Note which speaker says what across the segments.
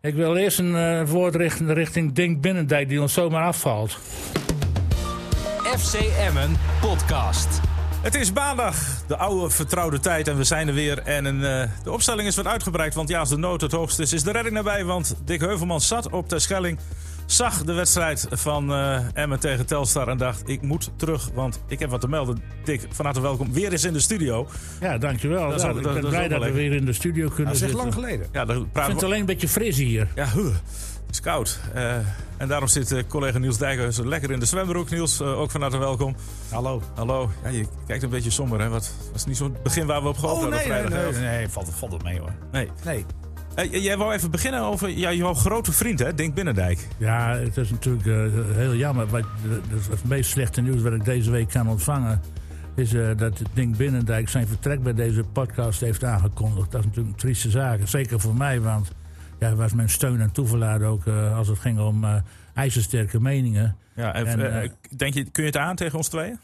Speaker 1: Ik wil eerst een eh, woord richten richting Dink Binnendijk die ons zomaar afvalt.
Speaker 2: FC Emmen podcast.
Speaker 3: Het is maandag, de oude vertrouwde tijd en we zijn er weer. En een, eh, de opstelling is wat uitgebreid, want ja, als de nood het hoogst is, is de redding nabij. Want Dick Heuvelman zat op Terschelling, zag de wedstrijd van eh, Emmen tegen Telstar en dacht... ik moet terug, want ik heb wat te melden. Dick, van harte welkom weer eens in de studio.
Speaker 1: Ja, dankjewel.
Speaker 3: Dat is
Speaker 1: Ja,
Speaker 3: ook-
Speaker 1: ik
Speaker 3: dat-
Speaker 1: ben
Speaker 3: dat is
Speaker 1: blij
Speaker 3: ook
Speaker 1: dat
Speaker 3: wel
Speaker 1: we weer in de studio kunnen
Speaker 4: Dat is echt
Speaker 1: zitten.
Speaker 4: lang geleden.
Speaker 3: Ja, dan
Speaker 1: Ik
Speaker 3: praten
Speaker 1: vind het
Speaker 3: we...
Speaker 1: alleen een beetje fris hier.
Speaker 3: Ja, huh, het is koud. Eh, en daarom zit eh, collega Niels Dijkhuis lekker in de zwembroek. Niels, eh, ook van harte welkom.
Speaker 4: Hallo.
Speaker 3: Hallo. Ja, je kijkt een beetje somber, hè? Wat was niet zo'n begin waar we op gehoopt
Speaker 4: Oh
Speaker 3: hadden
Speaker 4: nee,
Speaker 3: op
Speaker 4: nee,
Speaker 3: vrijdag.
Speaker 4: nee,
Speaker 3: hè?
Speaker 4: nee, valt, valt het mee hoor.
Speaker 3: nee.
Speaker 4: Nee.
Speaker 3: Eh, j- jij wou even beginnen over ja, jouw grote vriend, hè, Dink Binnendijk.
Speaker 1: Ja, het is natuurlijk eh, heel jammer. Maar het, het- het meest slechte nieuws wat ik deze week kan ontvangen... is eh, dat Dink Binnendijk zijn vertrek bij deze podcast heeft aangekondigd. Dat is natuurlijk een trieste zaak. Zeker voor mij, want ja, hij was mijn steun en toeverlaat ook... eh, als het ging om eh, ijzersterke meningen.
Speaker 3: Ja, en,
Speaker 1: En,
Speaker 3: eh,
Speaker 1: eh,
Speaker 3: denk je, kun je het aan tegen ons tweeën?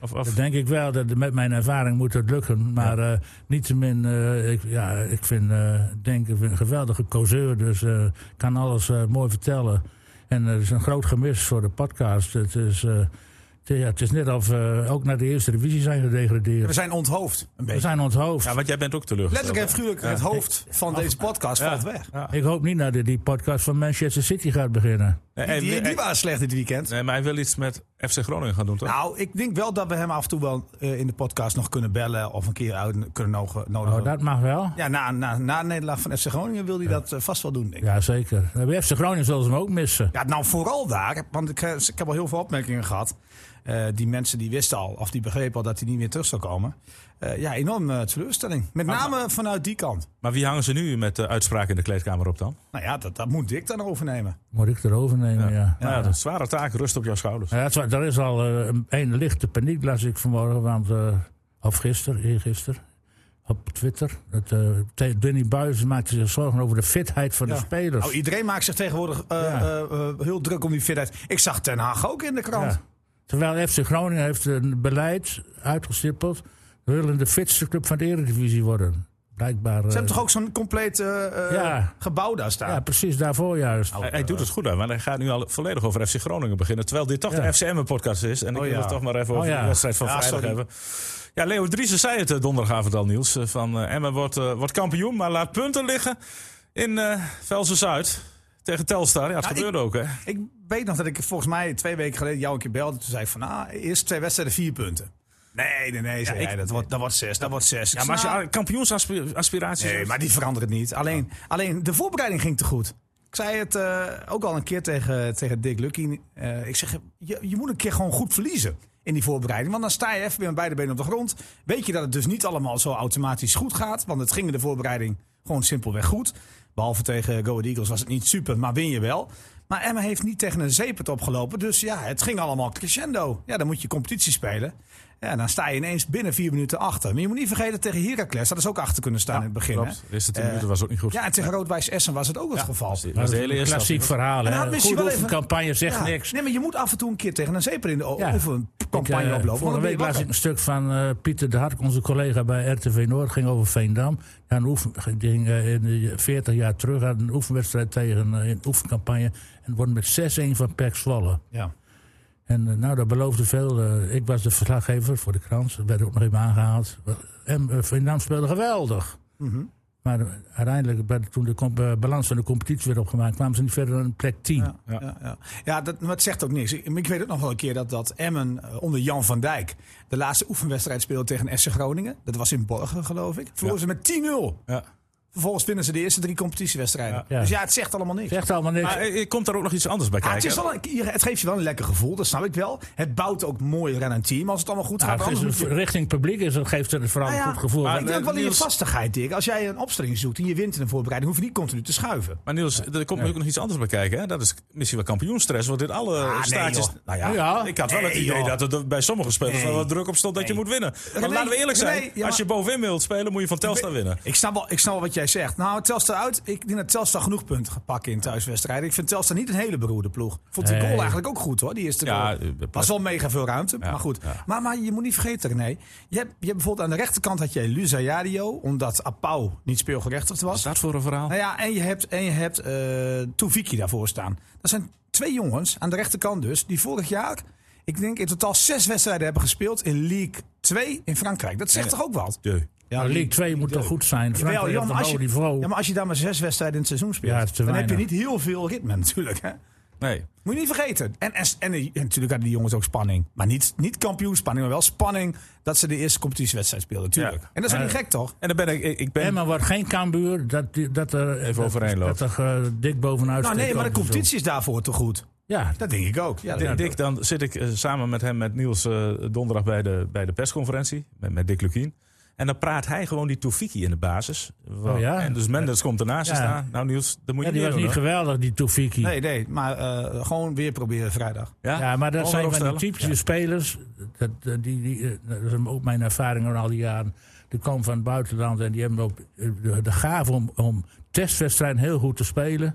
Speaker 3: Of, of,
Speaker 1: Dat denk ik wel. Dat, met mijn ervaring moet dat lukken. Maar eh niettemin, eh, ik, ja, ik vind eh Denk ik vind een geweldige causeur. Dus eh, kan alles eh, mooi vertellen. En eh, het is een groot gemis voor de podcast. Het is, eh, het, ja, het is net of we ook naar de eerste divisie zijn
Speaker 4: We
Speaker 1: gedegradeerd.
Speaker 4: zijn onthoofd. Een
Speaker 1: We
Speaker 4: beetje.
Speaker 1: zijn onthoofd.
Speaker 3: ja, want jij bent ook
Speaker 4: Letterlijk en
Speaker 3: teleurgesteld.
Speaker 4: figuurlijk, het hoofd van deze podcast valt weg.
Speaker 3: Ja.
Speaker 1: Ik hoop niet nou dat die podcast van Manchester City gaat beginnen.
Speaker 3: Nee,
Speaker 4: Die,
Speaker 3: hij
Speaker 4: die,
Speaker 3: wil-
Speaker 4: die
Speaker 3: hij-
Speaker 4: waren slecht dit weekend.
Speaker 3: Eh, nee, maar hij wil iets met FC Groningen gaan doen, toch?
Speaker 4: Nou, ik denk wel dat we hem af en toe wel eh, in de podcast nog kunnen bellen of een keer uit kunnen nogen- nodigen.
Speaker 1: Oh, dat mag wel.
Speaker 4: Ja, na, na, na de nederlaag van FC Groningen wil hij dat eh, vast wel doen, denk ik.
Speaker 1: Ja, zeker. Bij FC Groningen zullen ze hem ook missen.
Speaker 4: Ja, nou vooral daar, want ik, eh, ik heb al heel veel opmerkingen gehad. Eh, die mensen die wisten al, of die begrepen al dat hij niet meer terug zou komen. Eh, ja, enorm eh, teleurstelling. Met
Speaker 1: Ah,
Speaker 4: name vanuit die kant.
Speaker 3: Maar wie hangen ze nu met de uitspraak in de kleedkamer op dan?
Speaker 4: Nou ja, dat, dat moet Dick dan overnemen.
Speaker 1: Moet ik erover nemen, ja.
Speaker 3: Nou ja, dat is een zware taak, rust op jouw schouders.
Speaker 1: Ja, dat is waar. er is al eh, een, een lichte paniek, las ik vanmorgen. Want, eh, of gisteren, eergisteren, op Twitter. Dat, eh, te- Danny Buis maakte zich zorgen over de fitheid van de
Speaker 4: Ja.
Speaker 1: spelers.
Speaker 3: Dus-
Speaker 4: Nou, iedereen maakt zich tegenwoordig eh,
Speaker 1: Ja.
Speaker 4: eh, eh, heel druk om die fitheid. Ik zag Ten Haag ook in de krant.
Speaker 1: Ja. Terwijl FC Groningen heeft een beleid uitgestippeld. We willen de fitste club van de Eredivisie worden. Blijkbaar.
Speaker 4: Ze hebben toch ook zo'n compleet eh, eh,
Speaker 1: Ja.
Speaker 4: gebouw daar staan?
Speaker 1: Ja, precies daarvoor juist.
Speaker 4: Oh,
Speaker 3: Hij, hij
Speaker 4: eh,
Speaker 3: doet het goed aan, want hij gaat nu al volledig over FC Groningen beginnen. Terwijl dit toch
Speaker 1: Ja.
Speaker 3: de FCM-podcast is. En ik
Speaker 4: Oh
Speaker 3: wil
Speaker 4: ja.
Speaker 3: het toch maar even
Speaker 1: Oh
Speaker 3: over
Speaker 1: ja.
Speaker 3: de wedstrijd van
Speaker 4: Ja,
Speaker 3: vrijdag
Speaker 4: sorry.
Speaker 3: hebben. Ja, Leo Driessen zei het eh, donderdagavond al, Niels. eh, Van eh, Emmen wordt, eh, wordt kampioen, maar laat punten liggen in eh Velsen-Zuid. Tegen Telstar. Ja, het
Speaker 4: Ja, ik-
Speaker 3: gebeurde ook, hè?
Speaker 4: Ik weet nog dat ik volgens mij twee weken geleden jou een keer belde. Toen zei ik van, ah, eerst twee wedstrijden vier punten. Nee, nee, nee, zei
Speaker 3: ik-
Speaker 4: jij, dat, wordt, dat wordt zes, dat wordt zes. Ik nou,
Speaker 3: Ja, maar als je
Speaker 4: zei,
Speaker 3: a- kampioensaspiraties
Speaker 4: Nee,
Speaker 3: hebt-
Speaker 4: maar die veranderen het niet. Alleen, alleen de voorbereiding ging te goed. Ik zei het eh, ook al een keer tegen, tegen Dick Lucky. Eh, ik zeg, je, je moet een keer gewoon goed verliezen in die voorbereiding. Want dan sta je even met beide benen op de grond. Weet je dat het dus niet allemaal zo automatisch goed gaat. Want het ging in de voorbereiding gewoon simpelweg goed. Behalve tegen Go Ahead Eagles was het niet super, maar win je wel. Maar Emma heeft niet tegen een zeepert opgelopen. Dus ja, het ging allemaal crescendo. Ja, dan moet je competitie spelen. Ja, dan sta je ineens binnen vier minuten achter. Maar je moet niet vergeten tegen Heracles. Dat is ook achter kunnen staan in het begin.
Speaker 3: Klopt.
Speaker 4: hè?
Speaker 3: De eerste tien
Speaker 4: Eh,
Speaker 3: minuten was ook niet goed.
Speaker 4: ja, en tegen Roodwijs Essen was het ook het geval.
Speaker 3: Dat
Speaker 1: Maar
Speaker 3: was
Speaker 1: dat
Speaker 3: de
Speaker 1: is
Speaker 3: hele
Speaker 1: een
Speaker 3: eerste
Speaker 1: klassiek
Speaker 3: helft.
Speaker 1: verhaal.
Speaker 4: En dan
Speaker 1: hè.
Speaker 4: had Messi
Speaker 1: Goed
Speaker 4: wel even-
Speaker 1: oefencampagne zegt
Speaker 4: Ja.
Speaker 1: niks.
Speaker 4: Nee, maar je moet af en toe een keer tegen een zeper in de ogen
Speaker 1: Ja.
Speaker 4: of een campagne
Speaker 1: Ik, eh,
Speaker 4: oplopen. want
Speaker 1: Vorige
Speaker 4: dan ben je
Speaker 1: week las ik
Speaker 4: wakker.
Speaker 1: een stuk van eh, Pieter de Hart, onze collega bij RTV Noord, ging over Veendam. Ja, een oefen, ging, eh, in de 40 jaar terug had een oefenwedstrijd tegen eh, een oefencampagne. En won met 6-1 van Pek Zwolle.
Speaker 4: Ja.
Speaker 1: En eh, nou, dat beloofde veel. Eh, ik was de verslaggever voor de krant. Dat werd ook nog even aangehaald. En eh, Veendam speelde geweldig.
Speaker 4: Mhm.
Speaker 1: Maar eh, uiteindelijk, bij de- toen de comp- eh, balans van de competitie werd opgemaakt, kwamen ze niet verder dan plek 10.
Speaker 4: Ja, ja. Ja, dat, maar het zegt ook niks. Ik, ik weet ook nog wel een keer dat, dat Emmen eh, onder Jan van Dijk de laatste oefenwedstrijd speelde tegen SC Groningen. Dat was in Borgen, geloof ik. Verloren ze met 10-0.
Speaker 3: Ja.
Speaker 4: Vervolgens winnen ze de eerste drie competitiewedstrijden.
Speaker 1: Ja.
Speaker 4: Dus ja, het zegt allemaal niks.
Speaker 1: Zegt allemaal niks.
Speaker 3: Maar eh, eh, komt daar ook nog iets anders bij
Speaker 4: Ja,
Speaker 3: kijken?
Speaker 4: Ah, het, is wel een- het geeft je wel een lekker gevoel, dat snap ik wel. Het bouwt ook mooi aan een team als het allemaal goed
Speaker 1: Ja,
Speaker 4: gaat.
Speaker 1: het is
Speaker 4: Anders moet je-
Speaker 1: een- richting publiek is, dat geeft het vooral
Speaker 4: Nou
Speaker 1: een
Speaker 4: ja,
Speaker 1: goed gevoel.
Speaker 3: maar-
Speaker 1: Want-
Speaker 4: Ik denk ook wel in je
Speaker 3: Niels-
Speaker 4: vastigheid, Dick. Als jij een opstelling zoekt en je wint in een voorbereiding, hoef je niet continu te schuiven.
Speaker 3: Maar Niels, er komt ook nog iets anders bij kijken. Hè? Dat is misschien wel kampioenstress, want dit alle
Speaker 4: nee,
Speaker 3: staartjes...
Speaker 4: joh.
Speaker 3: nou ja,
Speaker 1: Ja.
Speaker 3: ik had wel het
Speaker 4: Nee,
Speaker 3: idee
Speaker 4: joh.
Speaker 3: dat het er bij sommige spelers
Speaker 4: Nee.
Speaker 3: wel wat druk op stond dat je moet winnen. Want
Speaker 4: René,
Speaker 3: laten we eerlijk zijn,
Speaker 4: René, ja,
Speaker 3: als je
Speaker 4: maar-
Speaker 3: bovenin wilt spelen, moet je van Telstar winnen.
Speaker 4: Ik snap, wel, ik snap wel wat jij jij zegt. Nou, Telstar uit. Ik denk dat Telstar genoeg punten gaat pakken in thuiswedstrijden. Ik vind Telstar niet een hele beroerde ploeg. Vond die
Speaker 1: Nee.
Speaker 4: goal eigenlijk ook goed hoor. Die eerste
Speaker 3: Ja,
Speaker 4: goal.
Speaker 3: eh,
Speaker 4: Was wel mega veel ruimte. maar goed. Maar, maar je moet niet vergeten, nee. Je hebt, je hebt bijvoorbeeld aan de rechterkant had jij Luzayario. Omdat Apau niet speelgerechtigd
Speaker 3: Wat is
Speaker 4: was.
Speaker 3: dat voor een verhaal?
Speaker 4: Nou ja, en je hebt, en je hebt eh, Toeviki daarvoor staan. Dat zijn twee jongens, aan de rechterkant dus, die vorig jaar, ik denk in totaal zes wedstrijden hebben gespeeld in League 2 in Frankrijk. Dat zegt
Speaker 3: Ja.
Speaker 4: toch ook wat?
Speaker 3: De.
Speaker 4: Ja,
Speaker 1: Nou, League 2 moet toch goed zijn?
Speaker 4: Jawel,
Speaker 1: Frankrijk
Speaker 4: Jan,
Speaker 1: op een
Speaker 4: als
Speaker 1: hoog
Speaker 4: je-
Speaker 1: niveau.
Speaker 4: Ja, maar als je daar maar zes wedstrijden in het seizoen
Speaker 1: Ja, dat is
Speaker 4: speelt,
Speaker 1: te
Speaker 4: dan heb je niet
Speaker 1: weinig.
Speaker 4: heel veel ritme natuurlijk. Hè?
Speaker 3: Nee.
Speaker 4: Moet je niet vergeten. En, en, en, en natuurlijk hadden die jongens ook spanning. Maar niet, niet kampioenspanning, maar wel spanning dat ze de eerste competitiewedstrijd speelden, natuurlijk.
Speaker 3: Ja.
Speaker 4: En dat is ook niet gek, toch?
Speaker 3: En dan ben ik, ik ik ben
Speaker 1: Emma wordt geen Cambuur. Dat, die- dat er,
Speaker 3: Even
Speaker 1: dat-
Speaker 3: overheen
Speaker 1: Dat
Speaker 3: loopt.
Speaker 1: er eh, dik bovenuit
Speaker 4: Nou nee,
Speaker 1: steekt
Speaker 4: maar de
Speaker 1: over zo.
Speaker 4: competitie is daarvoor te goed.
Speaker 1: Ja,
Speaker 4: Dat denk ik ook. Ja,
Speaker 3: Di- Dick, dan zit ik eh, samen met hem, met Niels, eh, donderdag bij de, bij de persconferentie. Met, met Dick Lukien. En dan praat hij gewoon die Toefiki in de basis. Wa-
Speaker 1: Oh ja?
Speaker 3: En dus Mendes komt ernaast te
Speaker 1: Ja.
Speaker 3: staan. Nou Niels, dat moet je
Speaker 1: ja die
Speaker 3: niet
Speaker 1: was
Speaker 3: doen.
Speaker 1: niet
Speaker 3: hoor.
Speaker 1: geweldig, die Tofiki.
Speaker 4: Nee, nee, maar eh, gewoon weer proberen vrijdag.
Speaker 3: ja?
Speaker 1: Ja, maar dat
Speaker 3: Gewoon
Speaker 1: zijn van die
Speaker 3: opstellen.
Speaker 1: typische spelers. Dat, eh, die, die, eh, dat is ook mijn ervaring al die jaren. Die komen van het buitenland en die hebben ook eh, de, de gave om, om testwedstrijden heel goed te spelen.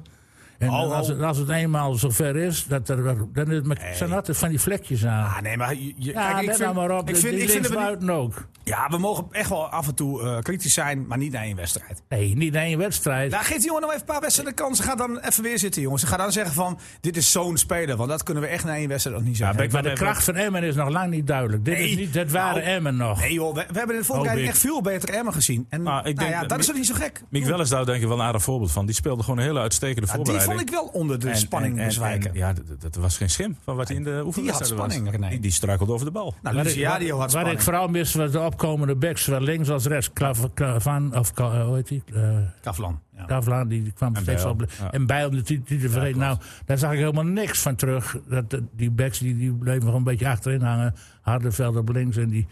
Speaker 1: En
Speaker 4: Oh, oh.
Speaker 1: als, het, als het eenmaal zover is, dat er, dan is het met, zijn altijd van die vlekjes aan.
Speaker 4: Ah, nee, maar je, je-
Speaker 1: ja,
Speaker 4: kijk, ik
Speaker 1: let
Speaker 4: vind,
Speaker 1: nou maar op.
Speaker 4: Ik vind,
Speaker 1: die
Speaker 4: ik vind dat we niet-
Speaker 1: buiten ook.
Speaker 4: ja, we mogen echt wel af en toe eh, kritisch zijn, maar niet naar één wedstrijd.
Speaker 1: Nee, niet één wedstrijd.
Speaker 4: Nou, geef die jongen nog even een paar wedstrijden de kans. Ga dan even weer zitten, jongens. Ga dan zeggen van, dit is zo'n speler. Want dat kunnen we echt naar één wedstrijd nog niet zeggen.
Speaker 3: ben ik
Speaker 1: maar
Speaker 3: wel
Speaker 1: de
Speaker 3: even-
Speaker 1: kracht van Emmen is nog lang niet duidelijk. Dit, is
Speaker 4: Nee.
Speaker 1: niet, dit waren
Speaker 4: Nou,
Speaker 1: Emmen nog.
Speaker 4: Nee joh, we, we hebben in de
Speaker 3: Hoop
Speaker 4: voorbereiding
Speaker 3: ik.
Speaker 4: echt veel beter Emmen gezien. En
Speaker 3: Nou, Oh, ik
Speaker 4: nou
Speaker 3: denk
Speaker 4: ja,
Speaker 3: dat
Speaker 4: dat is
Speaker 3: Mick-
Speaker 4: toch niet zo gek?
Speaker 3: Miek Welles daar denk ik wel een aardig voorbeeld van. Die speelde gewoon een hele uitstekende
Speaker 4: Ja, die
Speaker 3: voorbereiding.
Speaker 4: vond ik wel onder de
Speaker 3: En-
Speaker 4: spanning
Speaker 3: en- en-
Speaker 4: bezwijken.
Speaker 3: en- Ja, dat- dat was geen schim van wat hij in de oefening
Speaker 4: spanning, René.
Speaker 3: Die, die struikelde over de bal.
Speaker 4: nou,
Speaker 1: Waar ik-
Speaker 4: Luciadio
Speaker 1: waar-
Speaker 4: had
Speaker 1: Waar ik
Speaker 4: spanning.
Speaker 1: vooral mis was de opkomende backs, zowel links als rechts. Klav- Klavan, of Ka- eh, hoe heet die? Eh,
Speaker 4: Kavlan. Ja.
Speaker 1: Kavlaan, die kwam steeds
Speaker 3: Bijl,
Speaker 1: op. de-
Speaker 3: ja.
Speaker 1: En Bijl, die, die, die tevreden. nou, daar zag ik helemaal niks van terug. Dat, dat- die backs die, die bleven gewoon een beetje achterin hangen. Hardenveld op links en die...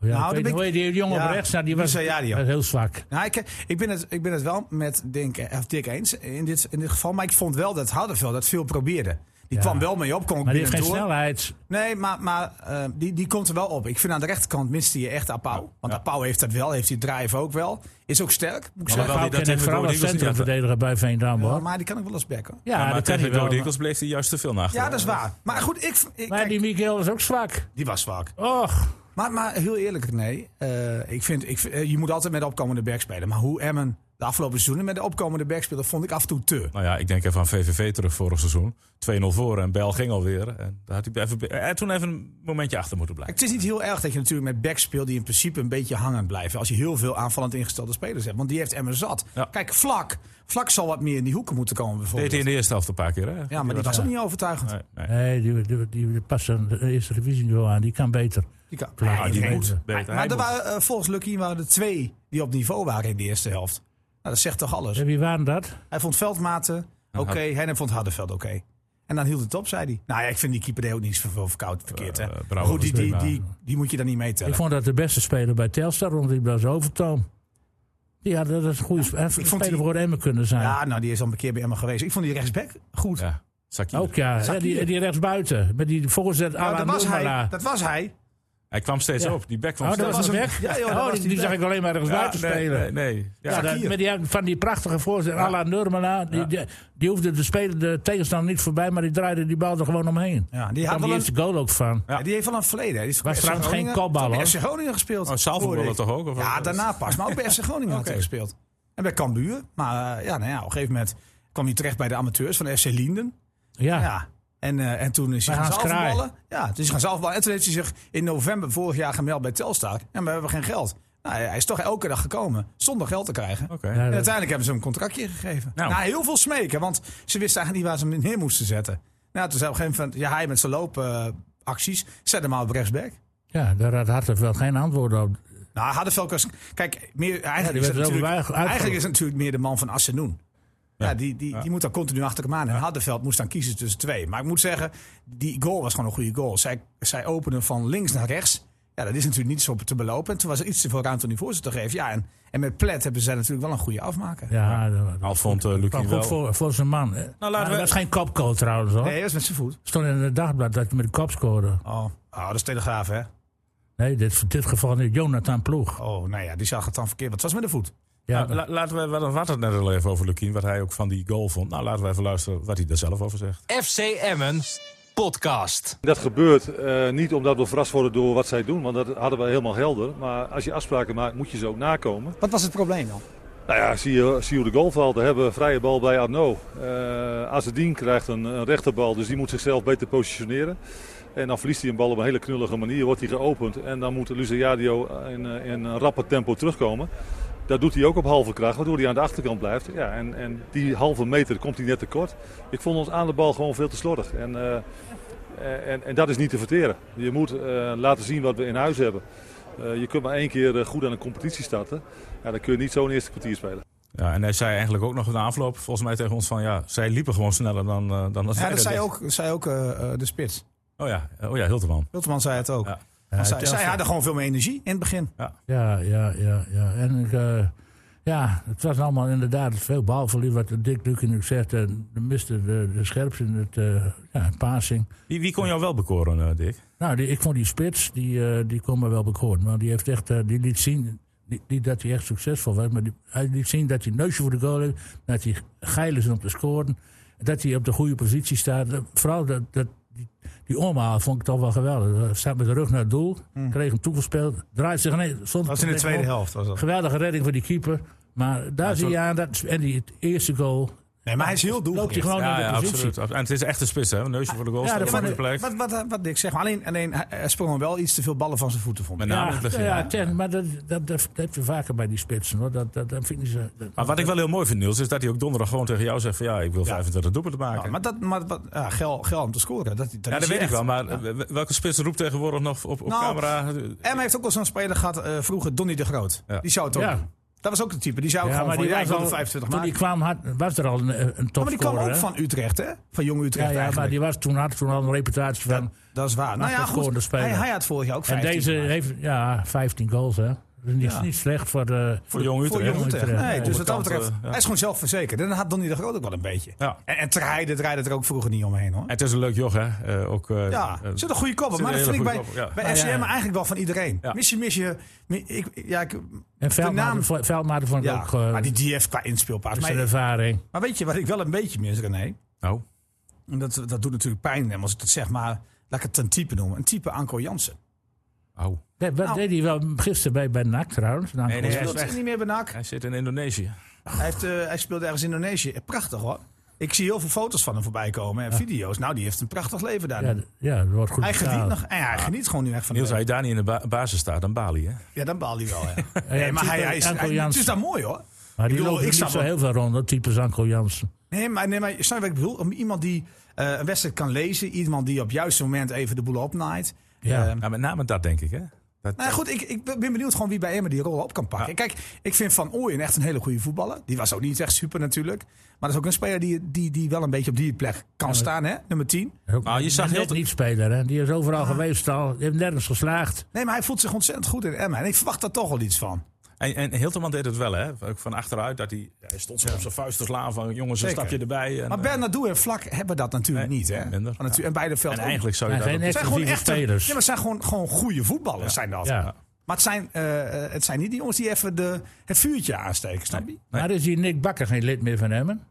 Speaker 1: Ja,
Speaker 4: Nou,
Speaker 1: ik weet
Speaker 4: dat
Speaker 1: niet,
Speaker 4: ben
Speaker 1: hoe heet
Speaker 4: ik-
Speaker 1: die jongen
Speaker 4: Ja,
Speaker 1: op rechts, nou, die was,
Speaker 4: Luciadio.
Speaker 1: was heel zwak.
Speaker 4: Nou, ik, ik, ben het, ik ben het wel met Dink of Dick eens in dit, in dit geval. Maar ik vond wel dat Hardenveld dat veel probeerde. Die
Speaker 1: Ja.
Speaker 4: kwam wel mee op, kon ook
Speaker 1: Maar die heeft geen
Speaker 4: binnen door.
Speaker 1: snelheid.
Speaker 4: Nee, maar, maar eh, die, die komt er wel op. Ik vind aan de rechterkant miste je echt Apau. Want Apau heeft dat wel, heeft die drive ook wel. Is ook sterk, moet ik
Speaker 3: Maar wel-
Speaker 4: zeggen.
Speaker 1: Pauw
Speaker 3: dat
Speaker 1: ken ik
Speaker 3: tegen
Speaker 1: vooral
Speaker 3: Go
Speaker 1: als
Speaker 3: Eagles niet
Speaker 1: centrumverdediger bij Veendam,
Speaker 4: Ja,
Speaker 1: hoor.
Speaker 4: maar die kan ik wel eens bekken.
Speaker 1: Ja,
Speaker 3: maar
Speaker 1: dat kan
Speaker 3: tegen
Speaker 1: hij wel.
Speaker 3: Dode
Speaker 1: Maar,
Speaker 3: Eagles bleef hij juist te veel naar achteren.
Speaker 4: Ja, dat is waar. Maar goed, ik, ik-
Speaker 1: maar
Speaker 4: kijk,
Speaker 1: die
Speaker 4: die...
Speaker 1: Miguel was ook zwak.
Speaker 4: was zwak.
Speaker 1: Och.
Speaker 4: Maar, maar heel eerlijk, nee. Eh, ik vind, ik, vind- eh, je moet altijd met de opkomende back spelen. Maar hoe Emmen de afgelopen seizoenen met de opkomende back speelde, vond ik af en toe te.
Speaker 3: Nou ja, ik denk even aan VVV terug vorig seizoen. 2-0 voor en Bel ging alweer. En daar had hij, even, hij had toen even een momentje achter moeten blijven.
Speaker 4: Het is niet heel erg dat je natuurlijk met backs speelt die in principe een beetje hangend blijven. Als je heel veel aanvallend ingestelde spelers hebt. Want die heeft Emmer zat.
Speaker 3: Ja.
Speaker 4: Kijk, Vlak. Vlak zal wat meer in die hoeken moeten komen
Speaker 3: Deed
Speaker 4: bijvoorbeeld.
Speaker 3: hij in de eerste helft een paar keer, hè?
Speaker 4: Ja, maar die was ook niet overtuigend.
Speaker 3: Nee, nee.
Speaker 1: Nee, die, die, die, die past aan de eerste divisieniveau aan. Die kan beter.
Speaker 4: Die kan-
Speaker 1: Ja,
Speaker 4: Nee,
Speaker 1: die
Speaker 4: nee.
Speaker 1: moet.
Speaker 3: Beter. Hij
Speaker 4: Maar er
Speaker 3: Ah, moet.
Speaker 4: waren, eh, volgens Lucky waren er twee die op niveau waren in de eerste helft. Nou, dat zegt toch alles.
Speaker 1: En wie waren dat?
Speaker 4: Hij vond Veldmaten oké. Hij vond Hardenveld oké. En dan hield het op, zei hij. Nou ja, ik vind die keeper deed ook niet zoveel verkoud verkeerd. Hè.
Speaker 3: Eh, Brouwer
Speaker 4: Maar goed, die,
Speaker 3: was
Speaker 4: die,
Speaker 3: prima.
Speaker 4: die, die moet je dan niet meetellen.
Speaker 1: Ik vond dat de beste speler bij Telstar, want die was Overtoom. Ja, dat is een goede sp-
Speaker 4: vond
Speaker 1: speler
Speaker 4: die-
Speaker 1: voor Emmen kunnen zijn.
Speaker 4: Ja, nou, die is al een keer bij Emma geweest. Ik vond die rechtsback goed.
Speaker 3: Ja, Sakir.
Speaker 1: Ook ja, hè, die,
Speaker 4: Zakir.
Speaker 1: die rechtsbuiten. Met die voorzet
Speaker 4: Nou,
Speaker 1: à la
Speaker 4: dat, was hij,
Speaker 1: Noemala.
Speaker 4: dat was hij.
Speaker 3: Hij kwam steeds
Speaker 1: Ja.
Speaker 3: op. Die back kwam
Speaker 1: Oh, dat
Speaker 3: steeds
Speaker 1: was
Speaker 3: op.
Speaker 1: hem
Speaker 4: hem.
Speaker 1: weg?
Speaker 4: Ja, joh, dat
Speaker 1: oh,
Speaker 4: was
Speaker 1: die,
Speaker 4: die
Speaker 1: die
Speaker 4: weg.
Speaker 1: zag ik alleen maar
Speaker 3: Ja,
Speaker 1: rechtsbuiten
Speaker 3: nee,
Speaker 1: spelen.
Speaker 3: Nee, nee. Ja,
Speaker 1: Ja, dat-
Speaker 4: Zakir.
Speaker 1: met die, van die prachtige voorzet à la Nurmala. Die, die, die hoefde de, speler, de tegenstander niet voorbij, maar die draaide die bal er gewoon omheen.
Speaker 4: Ja, die,
Speaker 1: Daar
Speaker 4: had
Speaker 1: kwam
Speaker 4: wel
Speaker 1: die
Speaker 4: een,
Speaker 1: eerste goal ook van.
Speaker 4: ja, die heeft wel een verleden. hè. Die is
Speaker 1: Was
Speaker 4: bij
Speaker 1: trouwens
Speaker 4: FC
Speaker 1: geen
Speaker 4: Groningen-
Speaker 1: kopbal,
Speaker 4: Bij
Speaker 1: hoor.
Speaker 4: FC Groningen gespeeld.
Speaker 3: Oh, Salvo
Speaker 4: Hoorde
Speaker 3: wilde
Speaker 4: ik.
Speaker 3: toch ook? Of
Speaker 4: Ja,
Speaker 3: wat?
Speaker 4: daarna pas. Maar ook bij FC Groningen had hij
Speaker 3: Oké.
Speaker 4: gespeeld. En bij Cambuur. Maar eh, ja, nou ja, op een gegeven moment kwam hij terecht bij de amateurs van FC Linden.
Speaker 1: Ja.
Speaker 4: Ja. En, eh, en toen is hij
Speaker 1: Bij
Speaker 4: gaan
Speaker 1: Hans Kraai.
Speaker 4: zelfballen. Ja, toen is hij gaan zelfballen. En toen heeft hij zich in november vorig jaar gemeld bij Telstar. En we hebben geen geld. Nou, hij is toch elke dag gekomen zonder geld te krijgen.
Speaker 3: Oké.
Speaker 1: Ja,
Speaker 4: En
Speaker 1: dat-
Speaker 4: uiteindelijk hebben ze hem een contractje gegeven.
Speaker 3: Nou.
Speaker 4: Nou. Na heel veel smeken, want ze wisten eigenlijk niet waar ze hem neer moesten zetten. Nou, toen zei op een gegeven moment, ja, hij met zijn loopacties, zet hem maar op rechtsback.
Speaker 1: Ja, daar had Hartenveld geen antwoord op.
Speaker 4: Nou, Hardenveld was... Kijk, meer,
Speaker 1: die
Speaker 4: eigenlijk,
Speaker 1: werd
Speaker 4: is het
Speaker 1: er
Speaker 4: natuurlijk,
Speaker 1: overweg uitgeroepen.
Speaker 4: eigenlijk is het natuurlijk meer de man van Assenoen. Ja, die, die, die moet daar continu achter hem aan. En Hardenveld moest dan kiezen tussen twee. Maar ik moet zeggen, die goal was gewoon een goede goal. Zij, zij openen van links naar rechts. Ja, dat is natuurlijk niet zo te belopen. En toen was er iets te veel ruimte om die voorzet te geven. Ja, en, en met Plet hebben zij natuurlijk wel een goede afmaker.
Speaker 1: Ja, dat-
Speaker 3: Al vond eh,
Speaker 1: kwam
Speaker 3: Lucky
Speaker 1: goed
Speaker 3: wel. Nou,
Speaker 1: voor, voor zijn man. hè.
Speaker 3: laten
Speaker 1: maar
Speaker 3: we-
Speaker 1: dat was geen kopkoot trouwens hoor.
Speaker 4: Nee, dat is met zijn voet.
Speaker 1: Stond in het dagblad dat je met de kop scoorde.
Speaker 4: Oh. oh, dat is Telegraaf, hè?
Speaker 1: Nee, dit, in dit geval niet. Jonathan Ploeg.
Speaker 4: Oh, nou ja, die zag het dan verkeerd. Wat was met de voet?
Speaker 1: Ja,
Speaker 3: Nou, la- laten we, we hadden het net al even over Lukien, wat hij ook van die goal vond. Nou, laten we even luisteren wat hij daar zelf over zegt.
Speaker 2: FC Emmen podcast.
Speaker 5: Dat gebeurt eh, niet omdat we verrast worden door wat zij doen, want dat hadden we helemaal helder. Maar als je afspraken maakt, moet je ze ook nakomen.
Speaker 4: Wat was het probleem dan?
Speaker 5: Nou ja, zie je, zie je hoe de goal valt. We hebben een vrije bal bij Arno. Eh Azedien krijgt een, een rechterbal, dus die moet zichzelf beter positioneren. En dan verliest hij een bal op een hele knullige manier, wordt hij geopend. En dan moet Luciadio in, eh, in een rapper tempo terugkomen. Dat doet hij ook op halve kracht, waardoor hij aan de achterkant blijft. Ja, en, en die halve meter komt hij net tekort. Ik vond ons aan de bal gewoon veel te slordig. En, eh, en, en dat is niet te verteren. Je moet eh, laten zien wat we in huis hebben. Eh, je kunt maar één keer eh, goed aan een competitie starten. Ja, dan kun je niet zo'n eerste kwartier spelen.
Speaker 3: Ja, en hij zei eigenlijk ook nog na afloop, volgens mij tegen ons, van ja, zij liepen gewoon sneller dan, eh, dan dat
Speaker 4: Ja,
Speaker 3: wij
Speaker 4: dat zei
Speaker 3: deden.
Speaker 4: ook, zei ook eh, eh, de spits.
Speaker 3: Oh ja, eh, oh ja Hilterman.
Speaker 4: Wilteman zei het ook.
Speaker 3: Ja.
Speaker 4: Want zij,
Speaker 1: het
Speaker 4: zij
Speaker 1: elftal-
Speaker 4: hadden gewoon veel meer energie in het begin.
Speaker 1: Ja, ja, ja, ja. En ik, eh, ja, het was allemaal inderdaad veel balverlies. Wat Dick Lukin nu zegt, eh, de miste de, de scherpste in het eh ja, passing.
Speaker 3: Wie, wie kon jou wel bekoren, eh, Dick?
Speaker 1: Nou, die, ik vond die spits, die, eh, die kon me wel bekoren. Maar die heeft echt, eh, die liet zien, niet, niet dat hij echt succesvol was, maar die- hij liet zien dat hij een neusje voor de goal heeft. Dat hij geil is om te scoren. Dat hij op de goede positie staat. Eh, Vooral dat, dat, die, die omhaal vond ik toch wel geweldig. Hij staat met de rug naar het doel, kreeg hem toegespeeld, draait zich nee, stond
Speaker 4: Dat Hmm. was in de tweede helft. Was dat.
Speaker 1: Geweldige redding voor die keeper. Maar daar zie je aan, dat, en die het eerste goal
Speaker 4: Nee, maar hij is heel
Speaker 1: loopt hij
Speaker 4: doelgericht.
Speaker 1: gewoon naar de positie.
Speaker 3: absoluut. En het is echt een spits, hè? Een neusje voor de goal,
Speaker 1: Ja,
Speaker 3: ja,
Speaker 1: dat
Speaker 3: op
Speaker 1: vond
Speaker 3: de
Speaker 1: ik-
Speaker 3: plek.
Speaker 4: Wat, wat, wat ik zeg, alleen, alleen hij- hij sprong wel iets te veel ballen van zijn voeten, vond ik.
Speaker 3: Met name in het
Speaker 1: Ah, Ja,
Speaker 3: begin.
Speaker 1: ja, ten, maar dat, dat, dat heb je vaker bij die spitsen. Hoor. Dat, dat, dat vinden ze, dat-
Speaker 3: Maar wat ik wel heel mooi vind, Niels, is dat hij ook donderdag gewoon tegen jou zegt van ja, ik wil 25 doelpunten
Speaker 4: Ja,
Speaker 3: maken.
Speaker 4: maar dat, maar wat, ja, gel, gel om te scoren. Dat, dat
Speaker 3: ja, dat
Speaker 4: is
Speaker 3: weet
Speaker 4: echt.
Speaker 3: ik wel, maar eh, welke spits roept tegenwoordig nog op, op
Speaker 4: Nou,
Speaker 3: camera?
Speaker 4: Emma heeft ook wel zo'n speler gehad eh, vroeger, Donny de Groot.
Speaker 3: Ja.
Speaker 4: Die zou het ook.
Speaker 1: Ja.
Speaker 4: doen. Dat was ook de type. Die zou ook
Speaker 1: Ja,
Speaker 4: gewoon
Speaker 1: maar
Speaker 4: van,
Speaker 1: die
Speaker 4: ja, ik
Speaker 1: was
Speaker 4: wil
Speaker 1: al-
Speaker 4: de 25
Speaker 1: toen
Speaker 4: maken.
Speaker 1: die kwam had, was er al een, eh, een topscorer.
Speaker 4: maar die kwam ook
Speaker 1: hè?
Speaker 4: van Utrecht, hè? Van Jong
Speaker 1: Ja,
Speaker 4: Utrecht
Speaker 1: ja maar
Speaker 4: eigenlijk.
Speaker 1: die was toen, had toen al een reputatie van...
Speaker 4: Dat is waar. Nou ja,
Speaker 1: scorende
Speaker 4: goed.
Speaker 1: speler.
Speaker 4: Hij, hij had vorig jaar ook
Speaker 1: en
Speaker 4: 15
Speaker 1: deze
Speaker 4: gemaakt.
Speaker 1: heeft ja, 15 goals, hè. Dus niet,
Speaker 4: Ja.
Speaker 1: niet slecht voor eh, de...
Speaker 3: Voor Jong
Speaker 4: Voor
Speaker 3: Utrecht.
Speaker 4: Jong Utrecht.
Speaker 1: Utrecht.
Speaker 4: Nee,
Speaker 1: Ja,
Speaker 4: dus wat dat
Speaker 3: overkant,
Speaker 4: betreft,
Speaker 3: eh, ja.
Speaker 4: hij is gewoon zelfverzekerd. En dan had Donny de Groot ook wel een beetje.
Speaker 3: Ja.
Speaker 4: En, en Terheide draaide er ook vroeger niet omheen, hoor.
Speaker 3: En het is een leuk joch, hè? Eh, ook, eh,
Speaker 4: Ja,
Speaker 3: eh,
Speaker 4: er zit een goede kop op.
Speaker 3: zit
Speaker 4: Maar
Speaker 3: een
Speaker 4: dat
Speaker 3: hele
Speaker 4: vind ik bij,
Speaker 3: goede kop op, ja.
Speaker 4: bij FCM
Speaker 1: Ja, ja.
Speaker 4: eigenlijk wel van iedereen.
Speaker 3: Ja.
Speaker 4: Mis je, mis je... mi- Ik, ja, ik,
Speaker 1: En
Speaker 4: de naam...
Speaker 1: Veldmaten vo- Veldmaten vond ik
Speaker 4: Ja,
Speaker 1: ook... eh,
Speaker 4: maar die, die heeft qua inspeelpaas.
Speaker 1: zijn
Speaker 4: Maar,
Speaker 1: ervaring.
Speaker 4: maar weet je wat ik wel een beetje mis, René?
Speaker 3: nou,
Speaker 4: En Dat, dat doet natuurlijk pijn hem als ik het zeg, maar laat ik het een type noemen. Een type Anko Jansen.
Speaker 3: au.
Speaker 1: Dat dat
Speaker 4: Nou.
Speaker 1: deed hij wel gisteren bij, bij NAC trouwens. Nou,
Speaker 3: Nee, nee,
Speaker 1: goed.
Speaker 3: hij is
Speaker 4: Speelt hij
Speaker 3: weg.
Speaker 4: niet meer bij NAC.
Speaker 3: Hij zit in Indonesië.
Speaker 4: Hij, heeft, eh, hij speelde ergens in Indonesië. Eh, Prachtig hoor. Ik zie heel veel foto's van hem voorbij komen en video's. Nou, die heeft een prachtig leven daar.
Speaker 1: ja, d- ja, dat wordt goed
Speaker 4: hij geniet
Speaker 1: betaald.
Speaker 4: nog. En hij geniet gewoon nu echt van.
Speaker 3: Niels,
Speaker 4: de-
Speaker 3: als je daar niet in de ba- basis staat, dan Bali, hè?
Speaker 4: Ja, dan baalt hij wel. Ja.
Speaker 1: Ja,
Speaker 4: nee, maar
Speaker 1: type
Speaker 4: hij, hij is.
Speaker 1: Anko
Speaker 4: hij- het is
Speaker 1: Jansen.
Speaker 4: daar mooi hoor.
Speaker 1: Maar die
Speaker 4: Ik bedoel,
Speaker 1: loopt
Speaker 4: ik
Speaker 1: niet
Speaker 4: snap
Speaker 1: zo
Speaker 4: hem.
Speaker 1: heel veel rond, dat type Anko Jansen.
Speaker 4: Nee, maar, nee, maar snap je wat ik bedoel? Om Iemand die eh, een wedstrijd kan lezen. Iemand die op het juiste moment even de boel opnaait.
Speaker 1: Ja.
Speaker 4: Ehm,
Speaker 3: Nou, met name dat, denk ik, hè? Dat,
Speaker 4: Nou ja, goed, ik, ik ben benieuwd gewoon wie bij Emmen die rol op kan pakken. Kijk, ik vind Van Ooyen echt een hele goede voetballer. Die was ook niet echt super natuurlijk. Maar dat is ook een speler die, die, die wel een beetje op die plek kan staan, hè? nummer 10.
Speaker 3: Nou, je zag heel-
Speaker 1: net niet speler, hè? Die is overal geweest al. Die heeft nergens geslaagd.
Speaker 4: Nee, maar hij voelt zich ontzettend goed in Emmen. En ik verwacht daar toch wel iets van.
Speaker 3: En, en Hilterman deed het wel, hè? Ook van achteruit, dat hij, hij stond zo op zijn vuist te slaan van... jongens, een
Speaker 4: Zeker.
Speaker 3: stapje erbij. En,
Speaker 4: Maar
Speaker 3: eh,
Speaker 4: Bernardo en Vlak hebben dat natuurlijk
Speaker 3: Nee,
Speaker 4: niet. Hè?
Speaker 3: nee, minder.
Speaker 4: Maar natuurlijk- En beide veld
Speaker 3: eh, en
Speaker 4: ook niet.
Speaker 3: eigenlijk zou je
Speaker 1: Maar
Speaker 3: dat...
Speaker 1: geen
Speaker 3: ook-
Speaker 4: Het zijn gewoon
Speaker 1: exclusieve
Speaker 4: echte
Speaker 1: spelers.
Speaker 4: Ja, maar het zijn gewoon, gewoon goede voetballers zijn dat.
Speaker 1: Ja.
Speaker 4: Maar het zijn, eh, het zijn niet die jongens die even de, het vuurtje aansteken, snap je?
Speaker 1: Maar is die Nick Bakker geen lid meer van Emmen?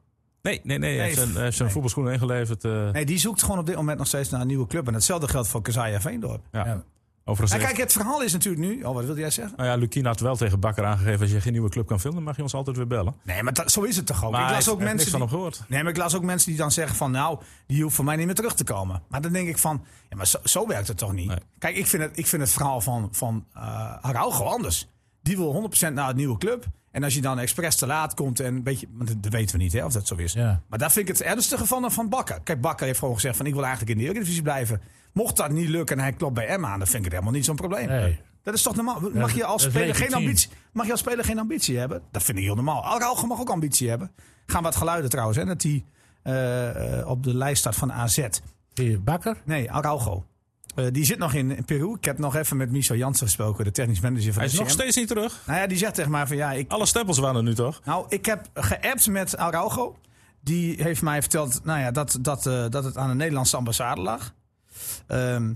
Speaker 3: Nee, nee, nee. Hij heeft
Speaker 4: Nee,
Speaker 3: zijn, hij heeft zijn voetbalschoenen ingeleverd. eh,
Speaker 4: Nee, die zoekt gewoon op dit moment nog steeds naar een nieuwe club. En hetzelfde geldt voor Kazaja Veendorp.
Speaker 3: ja.
Speaker 1: Ja.
Speaker 3: Overigens,
Speaker 4: Nou,
Speaker 3: heeft-
Speaker 4: kijk, het verhaal is natuurlijk nu... Oh, wat wilde jij zeggen?
Speaker 3: nou ja, Lukien had wel tegen Bakker aangegeven... als je geen nieuwe club kan vinden, mag je ons altijd weer bellen.
Speaker 4: Nee, maar dat- zo is het toch ook.
Speaker 3: Maar
Speaker 4: ik
Speaker 3: hij
Speaker 4: las
Speaker 3: heeft-
Speaker 4: ook
Speaker 3: heeft niks van
Speaker 4: mensen die,
Speaker 3: hem gehoord.
Speaker 4: Nee, maar ik las ook mensen die dan zeggen van... nou, die hoeft voor mij niet meer terug te komen. Maar dan denk ik van... ja, maar zo, zo werkt het toch niet?
Speaker 3: Nee.
Speaker 4: Kijk, ik vind het, ik vind het verhaal van, van eh Araujo anders. Die wil 100% naar een nieuwe club. En als je dan expres te laat komt en een beetje... want dat- dat weten we niet, hè, of dat zo is.
Speaker 1: Ja.
Speaker 4: Maar daar vind ik het ernstige van dan van Bakker. Kijk, Bakker heeft gewoon gezegd van... ik wil eigenlijk in de Eredivisie blijven. Mocht dat niet lukken en hij klopt bij Emma aan... dan vind ik het helemaal niet zo'n probleem.
Speaker 1: Nee.
Speaker 4: Dat is toch normaal? Mag je als
Speaker 1: dat is
Speaker 4: speler geen
Speaker 1: legitiem.
Speaker 4: ambitie... Mag je als speler geen ambitie hebben? Dat vind ik heel normaal. Araujo mag ook ambitie hebben. Gaan wat geluiden trouwens, hè? Dat hij eh, eh, op de lijst staat van AZ.
Speaker 1: Die Bakker?
Speaker 4: Nee, Araujo. Eh, die zit nog in, in Peru. Ik heb nog even met Michel Jansen gesproken, de technisch manager van
Speaker 3: Hij is
Speaker 4: de
Speaker 3: nog steeds niet terug.
Speaker 4: Nou ja, die zegt tegen mij van ja, ik,
Speaker 3: Alle stempels waren er nu, toch?
Speaker 4: nou, ik heb geappt met Araujo. Die heeft mij verteld nou ja, dat, dat, eh, dat het aan de Nederlandse ambassade lag. Ehm,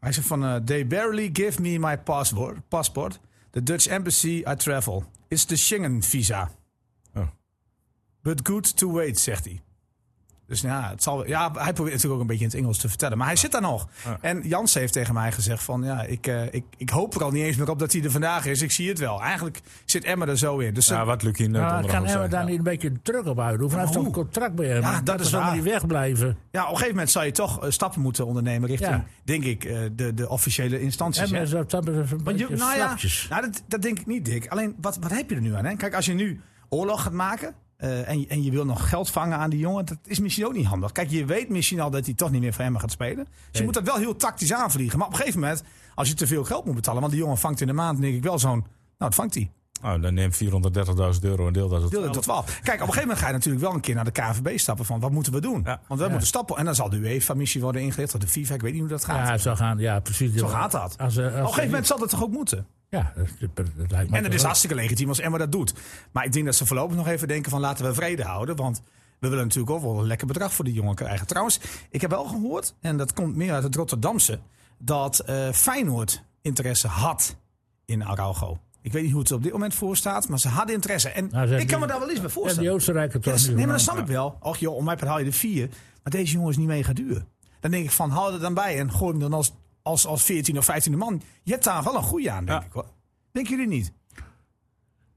Speaker 4: hij zei van, eh, they barely give me my passport. passport. The Dutch Embassy I travel. It's the Schengen visa.
Speaker 3: Oh.
Speaker 4: But good to wait, zegt hij. Dus ja, het zal, ja, hij probeert natuurlijk ook een beetje in het Engels te vertellen. Maar hij zit daar nog.
Speaker 3: Ah.
Speaker 4: En Jans heeft tegen mij gezegd van... ja, ik, eh, ik, ik hoop er al niet eens meer op dat hij er vandaag is. Ik zie het wel. Eigenlijk zit Emma er zo in. Dus ze-
Speaker 3: Ja, wat Lukien
Speaker 1: Maar
Speaker 3: net onderhand
Speaker 1: Nou, kan Emma
Speaker 3: zei.
Speaker 1: daar
Speaker 3: Ja.
Speaker 1: niet een beetje druk op houden? Hoeveel heeft
Speaker 4: hoe?
Speaker 1: een contract bij hem?
Speaker 4: Ja, dat is
Speaker 1: zal
Speaker 4: waar.
Speaker 1: niet wegblijven.
Speaker 4: Ja, op een gegeven moment zou je toch eh, stappen moeten ondernemen richting,
Speaker 1: Ja.
Speaker 4: denk ik, eh, de, de officiële instanties.
Speaker 1: Emma
Speaker 4: hè?
Speaker 1: is op eh, dat moment een
Speaker 4: Want je-
Speaker 1: beetje
Speaker 4: nou ja,
Speaker 1: slapjes.
Speaker 4: nou, dat, dat denk ik niet, Dick. Alleen, wat, wat heb je er nu aan? Hè? Kijk, als je nu oorlog gaat maken eh, en, je- en je wil nog geld vangen aan die jongen, dat is misschien ook niet handig. Kijk, je weet misschien al dat hij toch niet meer voor hem gaat spelen. Dus je
Speaker 1: Nee.
Speaker 4: moet dat wel heel tactisch aanvliegen. Maar op een gegeven moment, als je te veel geld moet betalen, want die jongen vangt in de maand, denk ik wel zo'n. Nou, dat vangt hij.
Speaker 3: Nou, dan neem 430.000 euro en deel dat.
Speaker 4: Deel dat tot 12. Kijk, op een gegeven moment ga je natuurlijk wel een keer naar de KVB stappen van wat moeten we doen?
Speaker 3: Ja.
Speaker 4: Want we moeten stappen. En dan zal de UEFA missie worden ingelicht of de FIFA, ik weet niet hoe dat gaat.
Speaker 1: Ja, het zal gaan. Ja, precies.
Speaker 4: Zo gaat dat.
Speaker 1: Als, eh, als,
Speaker 4: op een gegeven moment zal dat toch ook moeten?
Speaker 1: Ja, dat, dat- dat lijkt me
Speaker 4: En het
Speaker 1: toch
Speaker 4: is
Speaker 1: wel.
Speaker 4: hartstikke legitiem als Emma dat doet. Maar ik denk dat ze voorlopig nog even denken van laten we vrede houden. Want we willen natuurlijk ook wel een lekker bedrag voor die jongen krijgen. Trouwens, ik heb wel gehoord, en dat komt meer uit het Rotterdamse... dat eh, Feyenoord interesse had in Araujo. Ik weet niet hoe het er op dit moment voor staat, maar ze hadden interesse. En
Speaker 1: Nou, ze
Speaker 4: ik
Speaker 1: hebben
Speaker 4: kan me
Speaker 1: die-
Speaker 4: daar wel eens bij
Speaker 1: En die
Speaker 4: voorstellen.
Speaker 1: Oostenrijker
Speaker 4: Ja,
Speaker 1: toch
Speaker 4: dat is-
Speaker 1: niet
Speaker 4: nee, maar
Speaker 1: van
Speaker 4: dat snap ik wel. Och joh, om mij haal je de vier. Maar deze jongen is niet mega duur. Dan denk ik van, hou er dan bij en gooi hem dan als, als, als 14 of 15e man. Je hebt daar wel een goeie aan, denk
Speaker 3: Ja.
Speaker 4: ik hoor. Denken jullie niet?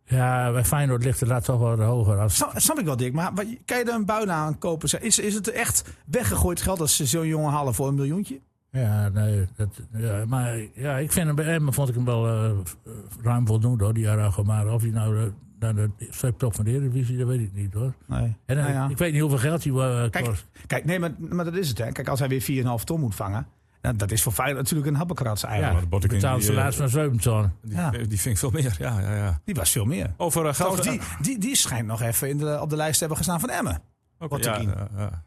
Speaker 1: Ja, bij Feyenoord ligt het daar toch wel hoger. Als,
Speaker 4: Snap, snap ik wel, Dick. Maar wat, kan je daar een buil aan kopen? Zeg, Is, is het echt weggegooid geld als ze zo'n jongen halen voor een miljoentje?
Speaker 1: ja, nee. Dat, ja, maar ja, ik vind hem bij Emmen vond ik hem wel eh, ruim voldoende hoor, die Araujo. Maar of hij nou eh, naar de top van de Eredivisie, dat weet ik niet hoor.
Speaker 4: Nee.
Speaker 1: En, eh,
Speaker 4: Nou ja.
Speaker 1: Ik weet niet hoeveel geld hij eh,
Speaker 4: Kijk,
Speaker 1: kost.
Speaker 4: Kijk, nee, maar, maar dat is het. Hè. Kijk, als hij weer 4,5 ton moet vangen. nou, dat is voor Feyenoord natuurlijk een habbekratse
Speaker 1: Ja,
Speaker 4: eigenlijk.
Speaker 3: maar de Bottekin,
Speaker 1: betaalt
Speaker 3: die,
Speaker 1: salaris
Speaker 3: eh,
Speaker 1: van 7 ton.
Speaker 3: Die,
Speaker 4: Ja.
Speaker 3: die vind ik veel meer. Ja, ja, ja.
Speaker 4: Die was veel meer.
Speaker 3: Over eh, geld.
Speaker 4: Trouwens, die, die, die schijnt nog even in de, op de lijst te hebben gestaan van Emmen.
Speaker 3: Oké, ja,
Speaker 4: Bottekin.
Speaker 3: ja, ja.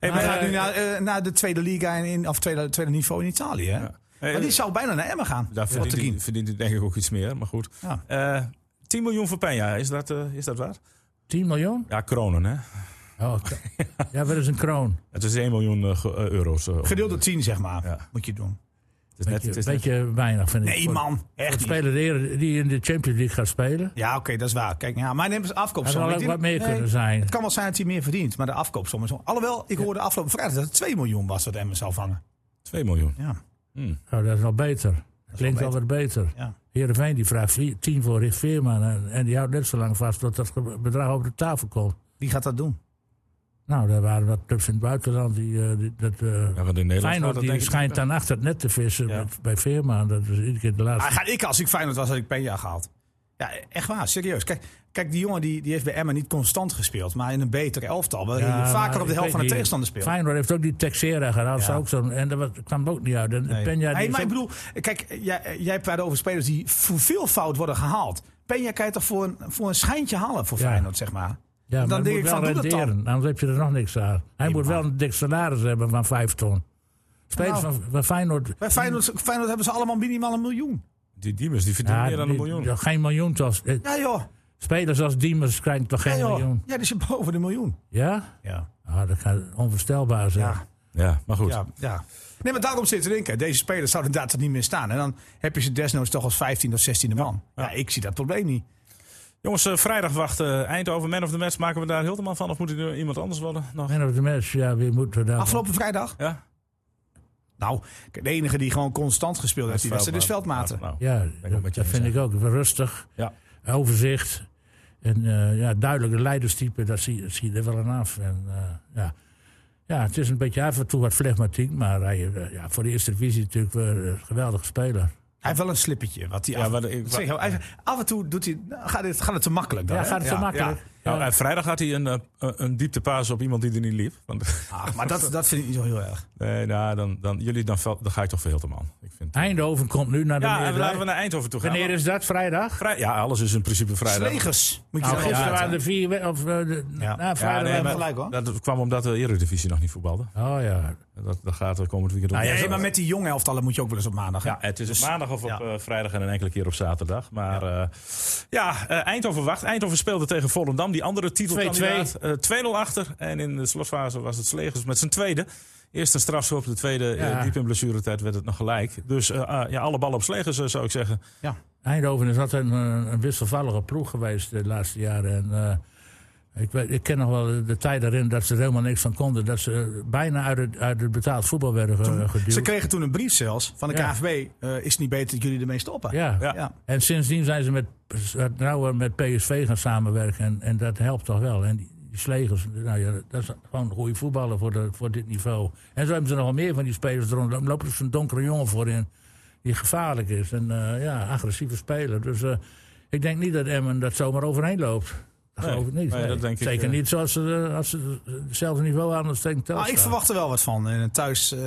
Speaker 3: Hey,
Speaker 4: Hij
Speaker 3: maar,
Speaker 4: gaat nu
Speaker 3: eh,
Speaker 4: naar, eh, naar de tweede liga in- in, of tweede, tweede niveau in Italië. Hè?
Speaker 3: hey,
Speaker 4: Maar die zou bijna naar Emmen gaan.
Speaker 3: Daar verdient
Speaker 4: Botteguin.
Speaker 3: hij, verdient hij denk ik ook iets meer, maar goed.
Speaker 4: Ja.
Speaker 3: Eh, 10 miljoen voor Penja, is dat, eh, is dat waar?
Speaker 1: 10 miljoen?
Speaker 3: Ja, kronen hè.
Speaker 1: Oh, oké. ja, dat is een kroon.
Speaker 3: Het is 1 miljoen eh, ge- eh, euro's. eh,
Speaker 4: Gedeeld door 10, zeg maar.
Speaker 3: Ja.
Speaker 4: Moet je doen.
Speaker 3: het is net, het
Speaker 1: Een
Speaker 3: is net-
Speaker 1: beetje weinig vind ik.
Speaker 4: Nee,
Speaker 1: Voor-
Speaker 4: man.
Speaker 1: Voor
Speaker 4: Echt
Speaker 1: een
Speaker 4: niet.
Speaker 1: speler die er- die in de Champions League gaat spelen.
Speaker 4: Ja, oké, dat is waar. Kijk, ja, maar neem eens
Speaker 1: Er
Speaker 4: afkoopsom.
Speaker 1: zal
Speaker 4: Ik
Speaker 1: ook
Speaker 4: denk-
Speaker 1: wat meer
Speaker 4: nee,
Speaker 1: kunnen zijn.
Speaker 4: Het kan wel zijn dat hij meer verdient, maar de afkoopsom is... wel- Alhoewel, ik hoorde afgelopen vrijdag dat het 2 miljoen was dat Emmen zou vangen.
Speaker 3: 2 miljoen.
Speaker 4: Ja.
Speaker 3: Hm.
Speaker 1: Oh, dat is wel beter. Dat klinkt
Speaker 4: wel
Speaker 1: al wat beter.
Speaker 4: Ja.
Speaker 1: Heerenveen die vraagt 10 voor Rick Veerman. En, en die houdt net zo lang vast tot dat ge- bedrag over de tafel komt.
Speaker 4: Wie gaat dat doen?
Speaker 1: Nou, daar waren wat clubs in het buitenland. Die, eh, die- dat, eh,
Speaker 3: Ja, want in Nederland gaat
Speaker 1: Feyenoord
Speaker 3: dat
Speaker 1: die
Speaker 3: denk ik-
Speaker 1: schijnt dan achter het net te vissen
Speaker 3: Ja.
Speaker 1: met- bij Veerman. Dat is iedere keer de laatste.
Speaker 4: Ah, ga ik, als ik Feyenoord was, had ik Peña gehaald. Ja, echt waar, serieus. Kijk, kijk die jongen die, die heeft bij Emmen niet constant gespeeld, maar in een beter elftal. Waarin
Speaker 1: Ja,
Speaker 4: je
Speaker 1: maar
Speaker 4: vaker op de
Speaker 1: ik
Speaker 4: helft
Speaker 1: weet
Speaker 4: van de
Speaker 1: niet.
Speaker 4: tegenstander speelt.
Speaker 1: Feyenoord heeft ook die Texera gehad.
Speaker 4: Ja.
Speaker 1: Ook zo'n, en dat was- kwam er ook niet uit. En Peña,
Speaker 4: Nee. Nee,
Speaker 1: die is
Speaker 4: maar ik
Speaker 1: ook-
Speaker 4: bedoel, kijk, jij, jij praat over spelers die voor veel fout worden gehaald. Penja kan je toch voor een, voor een schijntje halen voor
Speaker 1: Ja.
Speaker 4: Feyenoord, zeg maar.
Speaker 1: ja,
Speaker 4: dan
Speaker 1: maar het
Speaker 4: denk
Speaker 1: moet
Speaker 4: ik
Speaker 1: wel
Speaker 4: van, doe dat dan.
Speaker 1: renderen. Anders heb je er nog niks aan. Hij moet wel een dik salaris hebben van 5 ton. Spelers
Speaker 4: Nou.
Speaker 1: van, van Feyenoord
Speaker 4: Bij Feyenoord, Feyenoord hebben ze allemaal minimaal een miljoen.
Speaker 3: Die Diemers, die verdient
Speaker 1: Ja,
Speaker 3: meer dan een
Speaker 1: die-
Speaker 3: miljoen.
Speaker 1: ja, geen miljoen toch? Eh,
Speaker 4: Ja joh,
Speaker 1: Spelers als Diemers krijgen toch
Speaker 4: ja,
Speaker 1: geen
Speaker 4: joh.
Speaker 1: miljoen?
Speaker 4: ja die zit boven de miljoen.
Speaker 1: Ja?
Speaker 4: Ja.
Speaker 1: Ah, dat gaat onvoorstelbaar zijn.
Speaker 4: Ja,
Speaker 3: Ja, maar goed.
Speaker 4: ja, ja. Nee, maar daarom zit te denken. Deze spelers zouden inderdaad er niet meer staan. En dan heb je ze desnoods toch als 15 of 16e man. Ja, ik zie dat probleem niet.
Speaker 3: Jongens, eh, vrijdag wachten eh, Eindhoven, Man of the Match. Maken we daar Hilterman van of moet het nu iemand anders worden? Nog?
Speaker 1: Man of the match, ja, wie moeten we daar...
Speaker 4: Afgelopen vrijdag?
Speaker 3: Ja?
Speaker 4: Nou, de enige die gewoon constant gespeeld heeft, die wedstrijd is Veldmaten.
Speaker 3: Nou,
Speaker 1: Ja,
Speaker 3: ik
Speaker 1: dat,
Speaker 3: ook met je
Speaker 1: dat vind
Speaker 3: eens,
Speaker 1: ik ook. Rustig,
Speaker 3: Ja.
Speaker 1: overzicht en eh, ja, duidelijke leiderstype, dat zie, zie je er wel aan af. En, eh, ja. ja, het is een beetje af en toe wat flegmatiek, maar hij, eh, ja, voor de eerste divisie natuurlijk weer een geweldige speler.
Speaker 4: Hij heeft wel een slippertje. Wat hij
Speaker 3: Ja,
Speaker 4: af,
Speaker 3: wat ik-
Speaker 4: zeg, hij- hij- af en toe doet hij, nou, gaat, het, gaat het te makkelijk. Dan,
Speaker 1: Ja,
Speaker 4: hè?
Speaker 1: gaat het zo makkelijk.
Speaker 3: Nou,
Speaker 1: Ja.
Speaker 3: eh, vrijdag had hij een, eh, een een dieptepaas op iemand die er niet liep. Want,
Speaker 4: Ach, Ah, maar dat, dat vind ik niet zo heel erg.
Speaker 3: nee, nou, dan, dan, jullie, dan, vel- dan ga ik toch voor Hilterman. Ik vind,
Speaker 1: Eindhoven komt nu naar de
Speaker 3: ja, en laten we
Speaker 1: meerderheid.
Speaker 3: naar Eindhoven toe gaan.
Speaker 1: Wanneer is dat? Vrijdag?
Speaker 3: Vrij- ja, alles is in principe vrijdag.
Speaker 4: Slegers. Moet je
Speaker 1: Nou,
Speaker 4: nou,
Speaker 1: gisteren
Speaker 4: ja,
Speaker 1: waren er vier... we- Of, eh, de,
Speaker 4: Ja.
Speaker 1: na,
Speaker 3: Ja,
Speaker 1: vrijdag
Speaker 3: nee,
Speaker 1: waren
Speaker 3: maar
Speaker 4: gelijk, hoor.
Speaker 3: Dat kwam omdat de Eredivisie nog niet voetbalde.
Speaker 1: Oh ja.
Speaker 3: Dat, dat gaat er komend weekend op.
Speaker 4: ja,
Speaker 3: Nou, Ja,
Speaker 4: maar met die jonge elftallen moet je ook wel eens op maandag. hè?
Speaker 3: ja, het is
Speaker 4: Dus-
Speaker 3: op maandag of op
Speaker 4: ja.
Speaker 3: eh, vrijdag en een enkele keer op zaterdag. Maar ja, ja eh, Eindhoven wacht. Eindhoven speelde tegen Volendam, die andere titelkandidaat. Eh 2-0 achter. En in de slotfase was het Slegers met zijn tweede. Eerst een strafschop, de tweede eh,
Speaker 1: Ja.
Speaker 3: diep in blessuretijd werd het nog gelijk. Dus eh, ah, ja, alle ballen op slegers eh, zou ik zeggen.
Speaker 1: Eindhoven is altijd een, een wisselvallige ploeg geweest de laatste jaren. En, eh, ik, weet- ik ken nog wel de tijd daarin dat ze er helemaal niks van konden. Dat ze eh, bijna uit het, uit het betaald voetbal werden ge- geduwd.
Speaker 4: Ze kregen toen een brief zelfs van de
Speaker 1: Ja.
Speaker 4: KVB. eh, is het niet beter dat jullie ermee stoppen?
Speaker 1: ja.
Speaker 3: Ja.
Speaker 4: Ja. Nou,
Speaker 1: En sindsdien zijn ze met, nou, met PSV gaan samenwerken. En, en dat helpt toch wel. En die, die slegers, nou ja, dat is gewoon een goede voetballer voor, de, voor dit niveau. En zo hebben ze nogal meer van die spelers eronder. Er loopt dus een donkere jongen voorin die gevaarlijk is. En eh, ja, agressieve speler. Dus eh, ik denk niet dat Emmen dat zomaar overheen loopt. Dat
Speaker 3: Nee,
Speaker 1: geloof ik niet.
Speaker 3: nee, dat denk ik,
Speaker 1: Zeker
Speaker 3: eh.
Speaker 1: niet zoals ze, eh, als ze hetzelfde niveau aan het steken
Speaker 4: Ah, ik verwacht er wel wat van. In een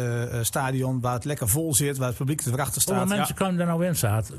Speaker 4: thuisstadion waar het lekker vol zit, waar het publiek erachter
Speaker 1: Hoeveel
Speaker 4: staat.
Speaker 1: mensen komen er nou in, Saad?
Speaker 4: 67%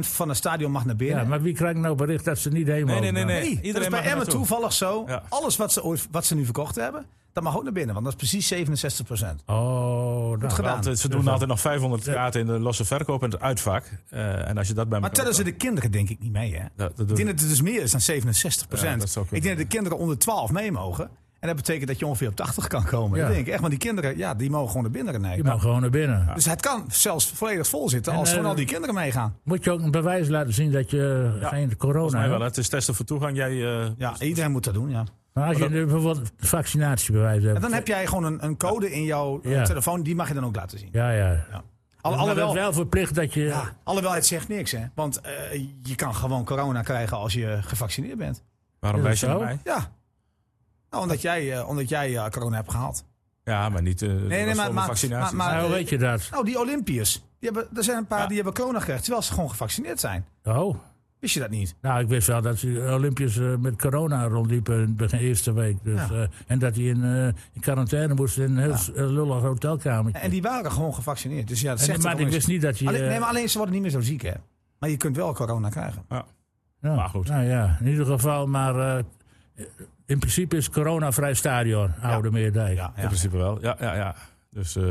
Speaker 4: van het stadion mag naar binnen.
Speaker 1: Ja, maar wie krijgt nou bericht dat ze niet heen mogen?
Speaker 3: nee, nee.
Speaker 4: Nee,
Speaker 3: Iedereen
Speaker 4: dat is
Speaker 3: mag
Speaker 4: bij
Speaker 3: er
Speaker 4: Emmen
Speaker 3: naartoe.
Speaker 4: toevallig zo.
Speaker 3: Ja.
Speaker 4: Alles wat ze, ooit- wat ze nu verkocht hebben, dat mag ook naar binnen. Want dat is precies 67%.
Speaker 1: Oh, nou,
Speaker 4: gedaan.
Speaker 3: Want, eh, ze
Speaker 1: Dus
Speaker 3: doen
Speaker 1: dat-
Speaker 3: altijd nog 500 kaarten in de losse verkoop en het uitvak. Eh, en als je dat bij
Speaker 4: Maar
Speaker 3: elkaar...
Speaker 4: tellen ze de kinderen denk ik niet mee, hè?
Speaker 3: dat, dat
Speaker 4: Ik
Speaker 3: doe
Speaker 4: denk dat het dus meer is dan 67
Speaker 3: Ja, dat zou kunnen.
Speaker 4: ik denk dat de kinderen onder 12 mee mogen. En dat betekent dat je ongeveer op 80 kan komen.
Speaker 1: Ja.
Speaker 4: Ik denk echt, want die kinderen, ja, die mogen gewoon naar binnen
Speaker 1: Je
Speaker 4: rijden.
Speaker 1: mag gewoon naar binnen.
Speaker 4: Dus het kan zelfs volledig vol zitten
Speaker 1: En,
Speaker 4: als gewoon
Speaker 1: eh,
Speaker 4: al die kinderen meegaan.
Speaker 1: Moet je ook een bewijs laten zien dat je eh,
Speaker 3: Ja,
Speaker 1: geen
Speaker 3: Volgens
Speaker 1: corona
Speaker 3: mij
Speaker 1: hebt?
Speaker 3: wel. hè. Het is testen voor toegang. Jij, eh,
Speaker 4: nou, Ja, iedereen moet dat doen, ja.
Speaker 1: Maar als je nu bijvoorbeeld vaccinatiebewijs hebt.
Speaker 4: En dan heb jij gewoon een, een code in jouw eh,
Speaker 1: Ja.
Speaker 4: telefoon, die mag je dan ook laten zien.
Speaker 1: Ja, ja.
Speaker 4: Al-
Speaker 1: Maar dat
Speaker 4: alhoewel,
Speaker 1: is wel verplicht dat je...
Speaker 4: ja, alhoewel, het zegt niks, hè. Want eh, je kan gewoon corona krijgen als je gevaccineerd bent.
Speaker 3: waarom
Speaker 1: Is
Speaker 3: wijs
Speaker 1: dat
Speaker 3: je naar
Speaker 1: zo?
Speaker 3: mij?
Speaker 4: Ja. Nou, omdat jij, eh, omdat jij eh, corona hebt gehaald.
Speaker 3: Ja, maar niet eh nee,
Speaker 4: maar- maar-
Speaker 3: vaccinatie.
Speaker 4: maar-
Speaker 1: Nou, hoe
Speaker 4: eh,
Speaker 1: weet je dat?
Speaker 4: Nou, die Olympiërs. Die hebben, er zijn een paar
Speaker 3: Ja.
Speaker 4: die hebben corona gekregen, terwijl ze gewoon gevaccineerd zijn.
Speaker 1: Oh.
Speaker 4: Wist je dat niet?
Speaker 1: Nou, ik wist wel dat de Olympiërs eh, met corona rondliepen in de begin eerste week. Dus,
Speaker 4: Ja.
Speaker 1: eh, en dat die in, eh, in quarantaine moesten in een heel s- eh, lullig hotelkamertje.
Speaker 4: En die waren gewoon gevaccineerd. Dus ja, dat
Speaker 1: En-
Speaker 4: zegt
Speaker 1: maar
Speaker 4: ook
Speaker 1: ik
Speaker 4: niks.
Speaker 1: wist niet dat die...
Speaker 4: Alleen,
Speaker 1: eh,
Speaker 4: nee, maar alleen ze worden niet meer zo ziek, hè? Maar je kunt wel corona krijgen.
Speaker 1: ja.
Speaker 3: maar goed.
Speaker 1: Nou ja, in ieder geval, maar... eh, in principe is corona vrij stadion, Oude Meerdijk.
Speaker 4: Ja,
Speaker 3: In
Speaker 4: ja.
Speaker 3: principe wel. Ja, ja, ja. Dus eh,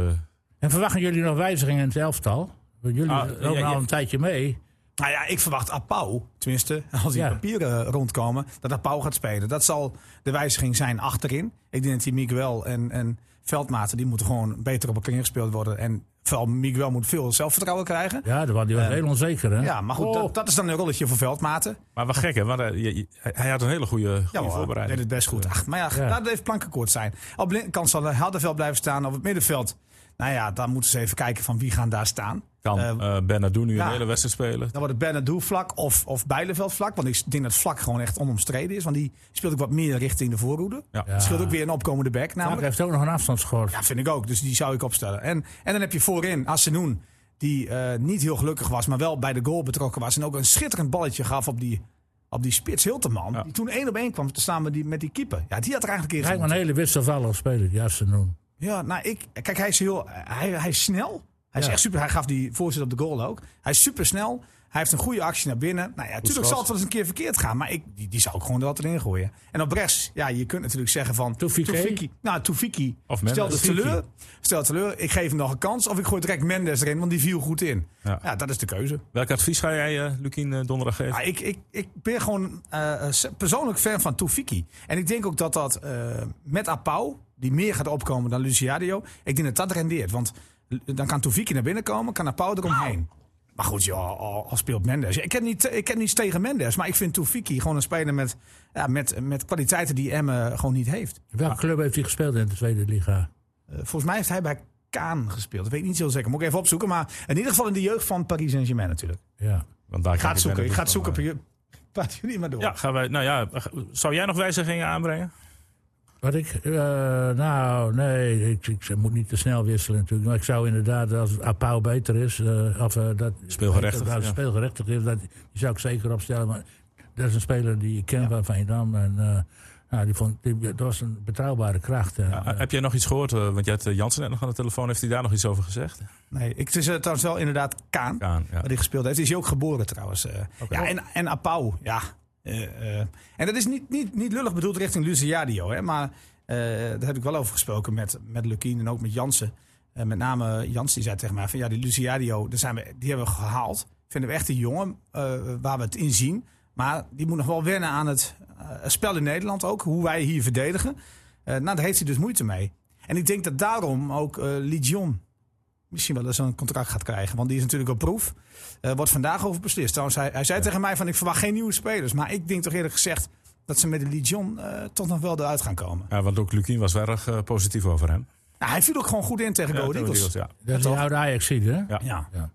Speaker 1: En verwachten jullie nog wijzigingen in het elftal? Want jullie
Speaker 3: Ah,
Speaker 1: lopen
Speaker 3: ja,
Speaker 1: al
Speaker 3: ja.
Speaker 1: een tijdje mee.
Speaker 4: Nou ja, ik verwacht Apau, tenminste, als die
Speaker 1: Ja.
Speaker 4: papieren rondkomen, dat Apau gaat spelen. Dat zal de wijziging zijn achterin. Ik denk dat die Miguel en, en Veldmaten, die moeten gewoon beter op elkaar gespeeld worden. En vooral Miguel moet veel zelfvertrouwen krijgen.
Speaker 1: Ja, dat was, die was heel onzeker, hè?
Speaker 4: Ja, maar goed,
Speaker 1: Oh.
Speaker 4: dat, dat is dan een rolletje voor Veldmaten.
Speaker 3: maar wel gek, hè? Want, eh, je- je- hij- hij had een hele goede, goede
Speaker 4: Ja, hoor, deed
Speaker 3: voorbereiding.
Speaker 4: het best goed. Ach, maar ja,
Speaker 1: Ja.
Speaker 4: laat het even plankenkoord zijn. Op de linkerkant zal Hardenveld blijven staan. Op het middenveld, nou ja, dan moeten ze even kijken van wie gaan daar staan.
Speaker 3: Kan
Speaker 4: Eh,
Speaker 3: eh Bernardo nu
Speaker 4: ja.
Speaker 3: een hele wedstrijd spelen.
Speaker 4: Dan wordt het Bernardo vlak of, of Bijleveld vlak. Want ik denk dat vlak gewoon echt onomstreden is. Want die speelt ook wat meer richting de voorhoede.
Speaker 3: Ja.
Speaker 4: Het scheelt ook weer een opkomende back
Speaker 1: Frank
Speaker 4: namelijk.
Speaker 1: heeft ook nog een afstandsschort.
Speaker 4: Ja, vind ik ook. Dus die zou ik opstellen. En, en dan heb je voorin Assenoen. Die eh, niet heel gelukkig was, maar wel bij de goal betrokken was. En ook een schitterend balletje gaf op die, op die spits Hilteman.
Speaker 3: Ja.
Speaker 4: Die toen één op één kwam te staan met die, met die keeper. Ja, die had er eigenlijk een keer
Speaker 1: Kijk maar een hele wisselvallige speler, die Asenoen.
Speaker 4: Ja, nou, ik, kijk, hij is heel. Hij, hij is snel. Hij is
Speaker 1: Ja.
Speaker 4: echt super. Hij gaf die voorzet op de goal ook. Hij is super snel. Hij heeft een goede actie naar binnen. Nou ja,
Speaker 3: schot.
Speaker 4: natuurlijk zal het wel eens een keer verkeerd gaan. Maar ik, die, die zou ik gewoon er wat erin gooien. En op rechts, ja, je kunt natuurlijk zeggen van.
Speaker 1: Toufiki.
Speaker 4: nou, Toefiki.
Speaker 3: Of Mendes.
Speaker 4: Stel de
Speaker 3: Toufiki.
Speaker 4: teleur. Stel teleur. Ik geef hem nog een kans. Of ik gooi direct Mendes erin, want die viel goed in.
Speaker 3: Ja.
Speaker 4: Ja, dat is de keuze.
Speaker 3: Welk advies ga jij, eh Lukien, eh, donderdag geven?
Speaker 4: Ja, ik, ik, ik ben gewoon eh, eh, persoonlijk fan van Toefiki. En ik denk ook dat dat eh, met Apau, die meer gaat opkomen dan Luciadio, ik denk dat dat rendeert. Want l- dan kan Toefiki naar binnen komen, kan Apau eromheen. Maar goed, joh, al, al speelt Mendes. Ik heb, niet, ik heb niets tegen Mendes, maar ik vind Toefiki gewoon een speler met, ja, met, met kwaliteiten die Emme gewoon niet heeft.
Speaker 1: Welke club heeft hij gespeeld in de tweede liga?
Speaker 4: Eh, volgens mij heeft hij bij Kaan gespeeld. Dat weet ik niet zo zeker. Moet ik even opzoeken. Maar in ieder geval in de jeugd van Paris Saint-Germain natuurlijk.
Speaker 1: Ja.
Speaker 3: Want daar
Speaker 4: Ik ga het zoeken. Ik ga het zoeken.
Speaker 3: Bernardo
Speaker 4: eh, Praat jullie maar door.
Speaker 3: van, eh, Ja, gaan wij, nou ja, eh, zou jij nog wijzigingen aanbrengen?
Speaker 1: Wat ik, eh, nou, nee, ik, ik, ze moet niet te snel wisselen natuurlijk. Maar ik zou inderdaad, als Apau beter is, eh, of eh, dat
Speaker 3: Speelgerechtigd,
Speaker 1: dat,
Speaker 3: ja.
Speaker 1: speelgerechtigd is, dat, die zou ik zeker opstellen. Maar dat is een speler die ik ken van Veendam en eh, nou, die vond, die, dat was een betrouwbare kracht. eh.
Speaker 3: Eh, heb jij nog iets gehoord? eh, want jij had eh, Jansen net nog aan de telefoon. Heeft hij daar nog iets over gezegd?
Speaker 4: Nee, ik, het is eh, trouwens wel inderdaad Kaan,
Speaker 3: Kaan, ja.
Speaker 4: waar hij gespeeld heeft. Is hij ook geboren trouwens. eh. ja, en, en Apau, ja. Eh, eh. en dat is niet, niet, niet lullig bedoeld richting Luciadio, hè, maar eh, daar heb ik wel over gesproken met, met Lukien en ook met Jansen. Eh, met name Jans, die zei tegen mij van ja, die Luciadio, daar zijn we, die hebben we gehaald. Vinden we echt een jongen eh, waar we het in zien. Maar die moet nog wel wennen aan het eh, spel in Nederland ook, hoe wij hier verdedigen. Eh nou, daar heeft hij dus moeite mee. En ik denk dat daarom ook eh Legion misschien wel eens een contract gaat krijgen. Want die is natuurlijk op proef. Eh wordt vandaag over beslist. Trouwens, hij, hij zei tegen mij van ik verwacht geen nieuwe spelers. Maar ik denk toch eerlijk gezegd dat ze met de Legion eh, toch nog wel eruit gaan komen.
Speaker 3: Ja, want ook Lukien was erg eh, positief over hem.
Speaker 4: Nou, hij viel ook gewoon goed in tegen Go Ahead
Speaker 3: Ja,
Speaker 4: Eagles.
Speaker 3: ja.
Speaker 1: Dat is die oude ajax ziet, hè?
Speaker 3: Ja.
Speaker 4: Ja.
Speaker 1: Ja.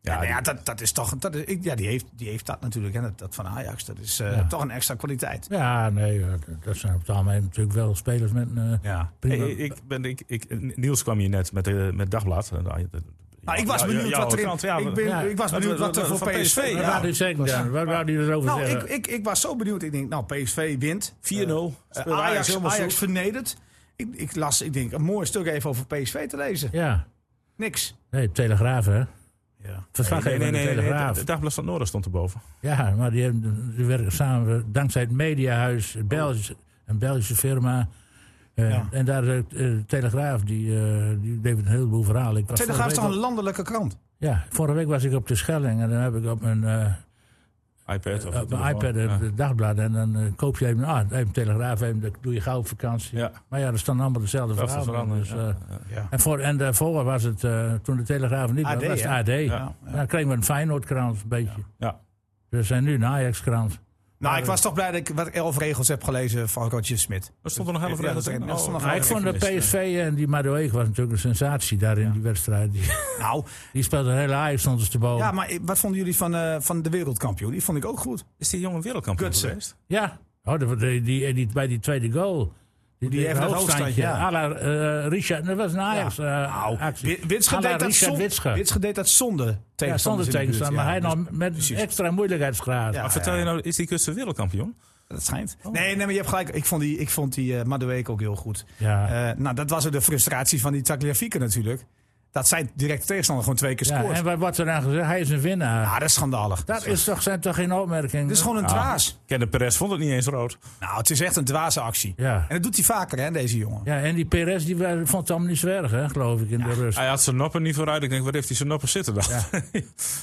Speaker 4: Ja, nou ja,
Speaker 3: die-
Speaker 4: dat, dat is toch. Dat is, ik- ja, die heeft, die heeft dat natuurlijk. Hè, dat, dat van Ajax. Dat is eh,
Speaker 1: Ja.
Speaker 4: toch een extra kwaliteit.
Speaker 1: Ja, nee, eh, dat- dat zijn op het algemeen natuurlijk wel spelers met een... eh,
Speaker 4: Ja.
Speaker 1: prima-
Speaker 3: Hey, ik ben, ik, ik, Niels kwam hier net met, eh, met Dagblad.
Speaker 4: Nou, ik was benieuwd wat erin. Ik, ben,
Speaker 1: ja.
Speaker 4: ik was
Speaker 3: Wat-
Speaker 4: benieuwd
Speaker 3: wat-
Speaker 4: wat er
Speaker 3: wat-
Speaker 4: voor
Speaker 3: van
Speaker 4: PSV.
Speaker 3: PSV,
Speaker 1: Waar
Speaker 4: ja.
Speaker 1: wou die zeker dan? Waar wou die erover
Speaker 4: Nou, ik,
Speaker 1: zeggen?
Speaker 4: ik, ik was zo benieuwd. Ik denk, nou, PSV wint.
Speaker 3: 4-0.
Speaker 4: Eh,
Speaker 3: Speelde Ajax
Speaker 4: Ajax,
Speaker 3: helemaal
Speaker 4: Ajax
Speaker 3: zoek.
Speaker 4: vernedert. Ik, ik las, ik denk, een mooi stuk even over PSV te lezen.
Speaker 1: Ja,
Speaker 4: Niks.
Speaker 1: nee, Telegraaf, hè?
Speaker 4: Ja.
Speaker 1: Verslaggever
Speaker 3: Nee, nee,
Speaker 1: van
Speaker 3: nee.
Speaker 1: de
Speaker 3: nee,
Speaker 1: Telegraaf.
Speaker 3: het Dagblad van het Noorden stond erboven.
Speaker 1: Ja, maar die, hebben, die werken samen dankzij het Mediahuis, het Belgisch- een Belgische firma. Eh,
Speaker 4: Ja.
Speaker 1: En daar de Telegraaf, die, eh, die deed een heleboel verhalen. Ik was
Speaker 4: Telegraaf is toch
Speaker 1: vorige
Speaker 4: een
Speaker 1: week
Speaker 4: landelijke krant?
Speaker 1: op- Ja, vorige week was ik op de Schelling en dan heb ik op mijn, eh,
Speaker 3: Eh, iPad
Speaker 1: op Eh,
Speaker 3: of
Speaker 1: mijn
Speaker 3: telefoon.
Speaker 1: iPad het
Speaker 3: Ja.
Speaker 1: dagblad. En dan eh, koop je even, ah, even Telegraaf, even, dat doe je gauw op vakantie.
Speaker 3: Ja.
Speaker 1: Maar ja, er staan allemaal dezelfde
Speaker 3: Dat is
Speaker 1: verhalen. in,
Speaker 3: veranderd.
Speaker 1: Dus,
Speaker 3: ja.
Speaker 1: eh,
Speaker 4: Ja.
Speaker 1: en, voor, en daarvoor was het, eh, toen de Telegraaf niet
Speaker 4: AD,
Speaker 1: was, was het
Speaker 4: hè?
Speaker 1: AD.
Speaker 3: Ja.
Speaker 1: Dan kregen we een Feyenoordkrant, een beetje.
Speaker 3: Ja.
Speaker 1: We zijn nu een Ajax-krant.
Speaker 4: Nou, ik was toch blij dat ik wat elf regels heb gelezen van Roger Smit.
Speaker 3: Er stond er nog heel
Speaker 4: Ja, dat-
Speaker 3: veel in.
Speaker 4: dat stond nog
Speaker 3: Oh,
Speaker 1: Maar ik vond dat PSV en die Madoeg was natuurlijk een sensatie daar in die wedstrijd. Die,
Speaker 4: Nou,
Speaker 1: die speelde een hele Ajax ondersteboven.
Speaker 4: ja,
Speaker 1: Ja,
Speaker 4: maar wat vonden jullie van, eh, van de wereldkampioen? Die vond ik ook goed.
Speaker 3: Is die jongen wereldkampioen
Speaker 4: Gutsen.
Speaker 3: geweest?
Speaker 1: ja. Oh, die, die, die, die- bij die tweede goal. Die,
Speaker 4: Die heeft dat hoogstandje, ja.
Speaker 1: à la, eh, Richard, dat was een Ajax eh,
Speaker 4: Nou,
Speaker 1: actie.
Speaker 4: Wi- Witsche
Speaker 1: À la
Speaker 4: deed, dat
Speaker 1: Richard
Speaker 4: zon-
Speaker 1: Witsche.
Speaker 4: Witsche deed dat zonde
Speaker 1: ja,
Speaker 4: tegenstanders
Speaker 1: zonder
Speaker 4: in de buurt,
Speaker 1: tegenstander, maar
Speaker 4: ja.
Speaker 1: hij
Speaker 4: Dus-
Speaker 1: dan met
Speaker 4: precies.
Speaker 1: een extra moeilijkheidsgraad.
Speaker 4: Ja.
Speaker 1: Ja.
Speaker 3: Maar vertel je nou, is die Gutsen wereldkampioen?
Speaker 4: Dat schijnt. Nee, nee, maar je hebt gelijk. Ik vond die, ik vond die eh, Madueke ook heel goed.
Speaker 1: Ja.
Speaker 4: Eh, nou, dat was ook de frustratie van die Tagliafico natuurlijk. Dat zijn directe tegenstander gewoon twee keer scoort.
Speaker 1: en wat wordt er dan gezegd? Hij is een winnaar.
Speaker 4: ah, dat is Ah. schandalig.
Speaker 1: dat is toch, zijn toch geen opmerkingen?
Speaker 4: Dit is gewoon een dwaas.
Speaker 3: Kenneth Perez vond het niet eens rood.
Speaker 4: Nou, het is echt een dwaze actie.
Speaker 1: Ja.
Speaker 4: En dat doet hij vaker, hè, deze jongen.
Speaker 1: ja, en die Perez die wa- vond het allemaal niet zo erg, hè, geloof ik, in de rust.
Speaker 3: Hij had zijn noppen niet vooruit. Ik denk, waar heeft hij zijn noppen zitten dan?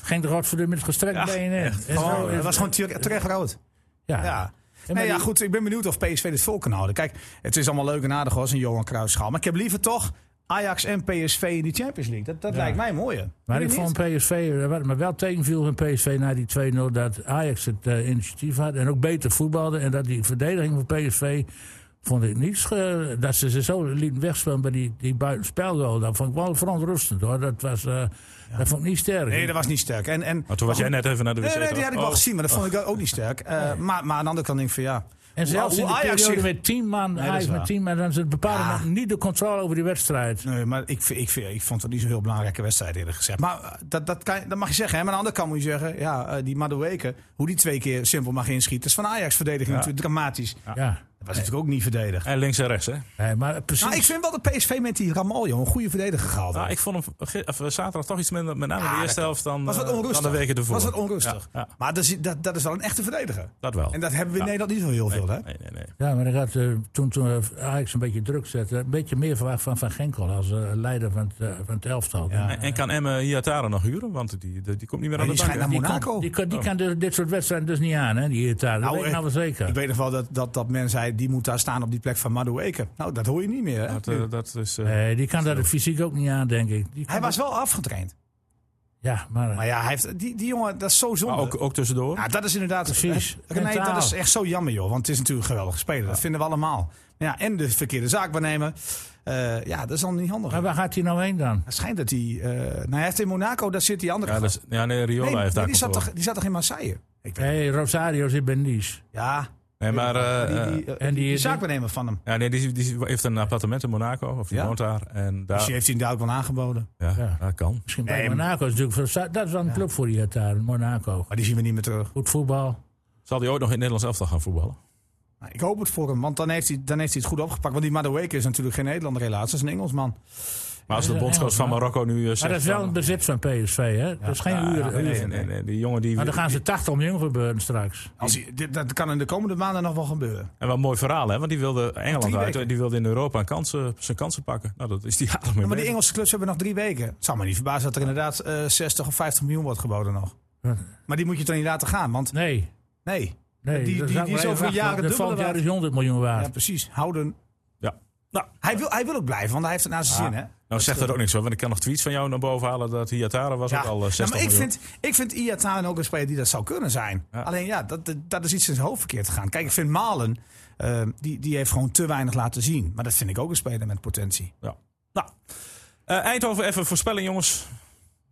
Speaker 1: Ging er godverdomme met gestrekt
Speaker 3: Ja,
Speaker 1: been in. Is
Speaker 4: Gewoon,
Speaker 1: wel- is-
Speaker 4: dat was gewoon tere- terecht rood.
Speaker 1: ja.
Speaker 4: Ja.
Speaker 1: maar
Speaker 4: Nee, ja,
Speaker 1: die-
Speaker 4: goed. Ik ben benieuwd of PSV dit vol kan houden. Kijk, het is allemaal leuk en aardig als een Johan Cruijffschaal. Maar ik heb liever toch Ajax en PSV in die Champions League. Dat, dat lijkt mij mooier.
Speaker 1: Maar ik
Speaker 4: Vind je
Speaker 1: vond
Speaker 4: niet?
Speaker 1: PSV, eh, wat me wel tegenviel van PSV na die 2-0, dat Ajax het eh, initiatief had en ook beter voetbalde. En dat die verdediging van PSV, vond ik niets, ge- dat ze ze zo lieten wegspelen bij die, die buitenspelgoal. Dat vond ik wel verontrustend hoor, dat, was, eh, dat vond ik niet sterk.
Speaker 4: Nee, dat was niet sterk. En, en,
Speaker 3: Maar toen was jij net even naar de wc.
Speaker 4: Nee, nee, die had ik wel
Speaker 3: Oh.
Speaker 4: gezien, maar dat vond ik ook niet sterk. Eh, maar, maar aan de andere kant denk ik van ja.
Speaker 1: en zelfs
Speaker 4: hoe
Speaker 1: in de
Speaker 4: Ajax
Speaker 1: periode
Speaker 4: zich-
Speaker 1: met 10 man,
Speaker 4: dat is
Speaker 1: Ajax met
Speaker 4: waar.
Speaker 1: 10 man, dan ze bepaalde
Speaker 4: Ja.
Speaker 1: nog niet de controle over die wedstrijd.
Speaker 4: Nee, maar ik, vind- ik, vind- ik vond het niet zo'n heel belangrijke wedstrijd eerlijk gezegd. Maar eh, dat, dat, kan, dat mag je zeggen. Hè? Maar aan de andere kant moet je zeggen, ja, eh, die Madueke, hoe die twee keer simpel mag inschieten, is van Ajax-verdediging natuurlijk dramatisch.
Speaker 1: Ja.
Speaker 4: Dat was natuurlijk ook niet verdedigd.
Speaker 3: En links en rechts, hè?
Speaker 1: Nee, maar precies.
Speaker 4: Nou, ik vind wel dat PSV met die Ramaljo een goede verdediger gehaald
Speaker 3: Nou,
Speaker 4: heeft.
Speaker 3: ik vond hem ge- of, eh, zaterdag toch iets minder, met name
Speaker 4: Ja,
Speaker 3: de
Speaker 4: dat
Speaker 3: eerste
Speaker 4: kan.
Speaker 3: helft dan,
Speaker 4: Ah, was wat
Speaker 3: eh,
Speaker 4: onrustig.
Speaker 3: dan de weken ervoor.
Speaker 4: was wat onrustig.
Speaker 3: Ja, ja.
Speaker 4: Maar dat is, dat, dat is wel een echte verdediger.
Speaker 3: Dat wel.
Speaker 4: En dat hebben we in
Speaker 3: Ja.
Speaker 4: Nederland niet zo heel veel, hè?
Speaker 3: Nee, nee, nee.
Speaker 1: Ja, maar ik had, eh, toen, toen eh, Ajax een beetje druk zette, een beetje meer verwacht van Van Genkel als eh, leider van het, eh, van het elftal.
Speaker 3: En, en kan Emme Iatara nog huren? Want die, die, die komt niet meer aan
Speaker 4: Maar
Speaker 3: de
Speaker 4: die
Speaker 3: bank.
Speaker 4: schijnt naar
Speaker 3: hè?
Speaker 4: Monaco. Oh.
Speaker 1: Die kan, die kan dus dit soort wedstrijden dus niet aan, hè? Die hier daar. Dat
Speaker 4: Nou,
Speaker 1: weet ik
Speaker 4: eh,
Speaker 1: nou wel zeker.
Speaker 4: Ik weet nog wel dat, dat, dat men zei, die moet daar staan op die plek van Madueke. Nou, dat hoor je niet meer, hè?
Speaker 3: Dat, eh, dat is, eh,
Speaker 1: Nee, die kan dat fysiek ook niet aan, denk ik. Die kan
Speaker 4: Hij was wel afgetraind.
Speaker 1: Ja, maar,
Speaker 4: Maar ja, hij heeft, die, die jongen, dat is zo zonde.
Speaker 3: maar ook, ook tussendoor.
Speaker 4: Ja, dat is inderdaad...
Speaker 1: Precies.
Speaker 4: René,
Speaker 1: Mentaal.
Speaker 4: dat is echt zo jammer, joh. Want het is natuurlijk een geweldige speler. Dat vinden we allemaal. Maar Ja, en de verkeerde zaak waarnemen. Eh, ja, dat is dan niet handig.
Speaker 1: maar waar gaat hij nou heen dan?
Speaker 4: Het schijnt dat hij... eh, nou, hij heeft in Monaco, daar zit die andere...
Speaker 3: Ja, dat is, ja nee, Riola
Speaker 4: nee,
Speaker 3: heeft
Speaker 4: nee,
Speaker 3: daar
Speaker 4: die, zat
Speaker 3: controle.
Speaker 4: toch, die zat toch in Marseille? Ik weet,
Speaker 1: Nee, Rosario zit bij Nice.
Speaker 4: ja.
Speaker 3: Nee, maar... eh,
Speaker 4: die,
Speaker 3: eh,
Speaker 4: die, eh,
Speaker 1: en
Speaker 4: die,
Speaker 1: die-
Speaker 4: die zaakwaarnemer van hem.
Speaker 3: ja, nee, die, die heeft een appartement in Monaco. Of die
Speaker 4: Ja.
Speaker 3: woont daar. En
Speaker 4: Dus
Speaker 3: daar...
Speaker 4: die heeft hij inderdaad wel aangeboden.
Speaker 3: Ja,
Speaker 1: Ja.
Speaker 3: dat kan.
Speaker 1: Misschien bij
Speaker 4: Nee,
Speaker 1: Monaco. Is natuurlijk, voor- za- dat is wel een club voor die het daar, Monaco.
Speaker 4: Maar die zien we niet meer terug.
Speaker 1: Goed voetbal.
Speaker 3: Zal die ooit nog in het Nederlands elftal gaan voetballen?
Speaker 4: Nou, ik hoop het voor hem, want dan heeft hij, dan heeft hij het goed opgepakt. Want die Madueke is natuurlijk geen Nederlander helaas, dat is een Engelsman.
Speaker 3: Maar als
Speaker 1: Ja,
Speaker 3: de bondscoach van
Speaker 1: Engels,
Speaker 3: Marokko nu eh, zegt...
Speaker 1: Maar dat is wel
Speaker 3: van-
Speaker 1: een bezit van PSV, hè? Dat is geen
Speaker 3: Ja,
Speaker 1: uren.
Speaker 3: nee,
Speaker 1: uren.
Speaker 3: nee, nee, nee, die jongen die...
Speaker 1: Maar dan gaan ze 80 miljoen verbeuren straks.
Speaker 4: Als hij, dit- dat kan in de komende maanden nog wel gebeuren.
Speaker 3: En wat een mooi verhaal, hè? Want die wilde Engeland
Speaker 4: Drie
Speaker 3: uit.
Speaker 4: weken.
Speaker 3: hè, Die wilde in Europa een kansen, zijn kansen pakken. Nou, dat is die aardig mee
Speaker 4: maar die
Speaker 3: bezig.
Speaker 4: Engelse clubs hebben nog drie weken. Het zou me niet verbazen dat er inderdaad eh 60 of 50 miljoen wordt geboden nog.
Speaker 1: Ja.
Speaker 4: Maar die moet je dan niet laten gaan, want
Speaker 1: Nee.
Speaker 4: nee.
Speaker 1: nee
Speaker 4: Die-
Speaker 1: dat zou ik
Speaker 4: die- die
Speaker 1: wel
Speaker 4: is
Speaker 1: even
Speaker 4: over
Speaker 1: wachten,
Speaker 4: jaren
Speaker 1: want
Speaker 4: dubbele
Speaker 1: Volgend jaar
Speaker 4: waard.
Speaker 1: is 100 miljoen
Speaker 4: Ja,
Speaker 1: waard.
Speaker 4: precies. Houden.
Speaker 3: Ja. Nou,
Speaker 4: Hij wil, hij wil ook blijven, want hij heeft het naar zijn zin, hè?
Speaker 3: nou
Speaker 1: Dus,
Speaker 3: zegt
Speaker 1: eh,
Speaker 3: dat ook niks hoor, want ik kan nog tweets van jou naar boven halen dat Hiatara was ook al eh, 60
Speaker 4: Nou, maar ik
Speaker 3: miljoen.
Speaker 4: vind, ik vind Iataren ook een speler die dat zou kunnen zijn. Alleen ja, dat, dat, dat is iets in zijn hoofd verkeerd gegaan. Kijk, ik vind Malen, eh, die, die heeft gewoon te weinig laten zien. Maar dat vind ik ook een speler met potentie.
Speaker 3: Ja. Nou, eh, Eindhoven even voorspellen jongens.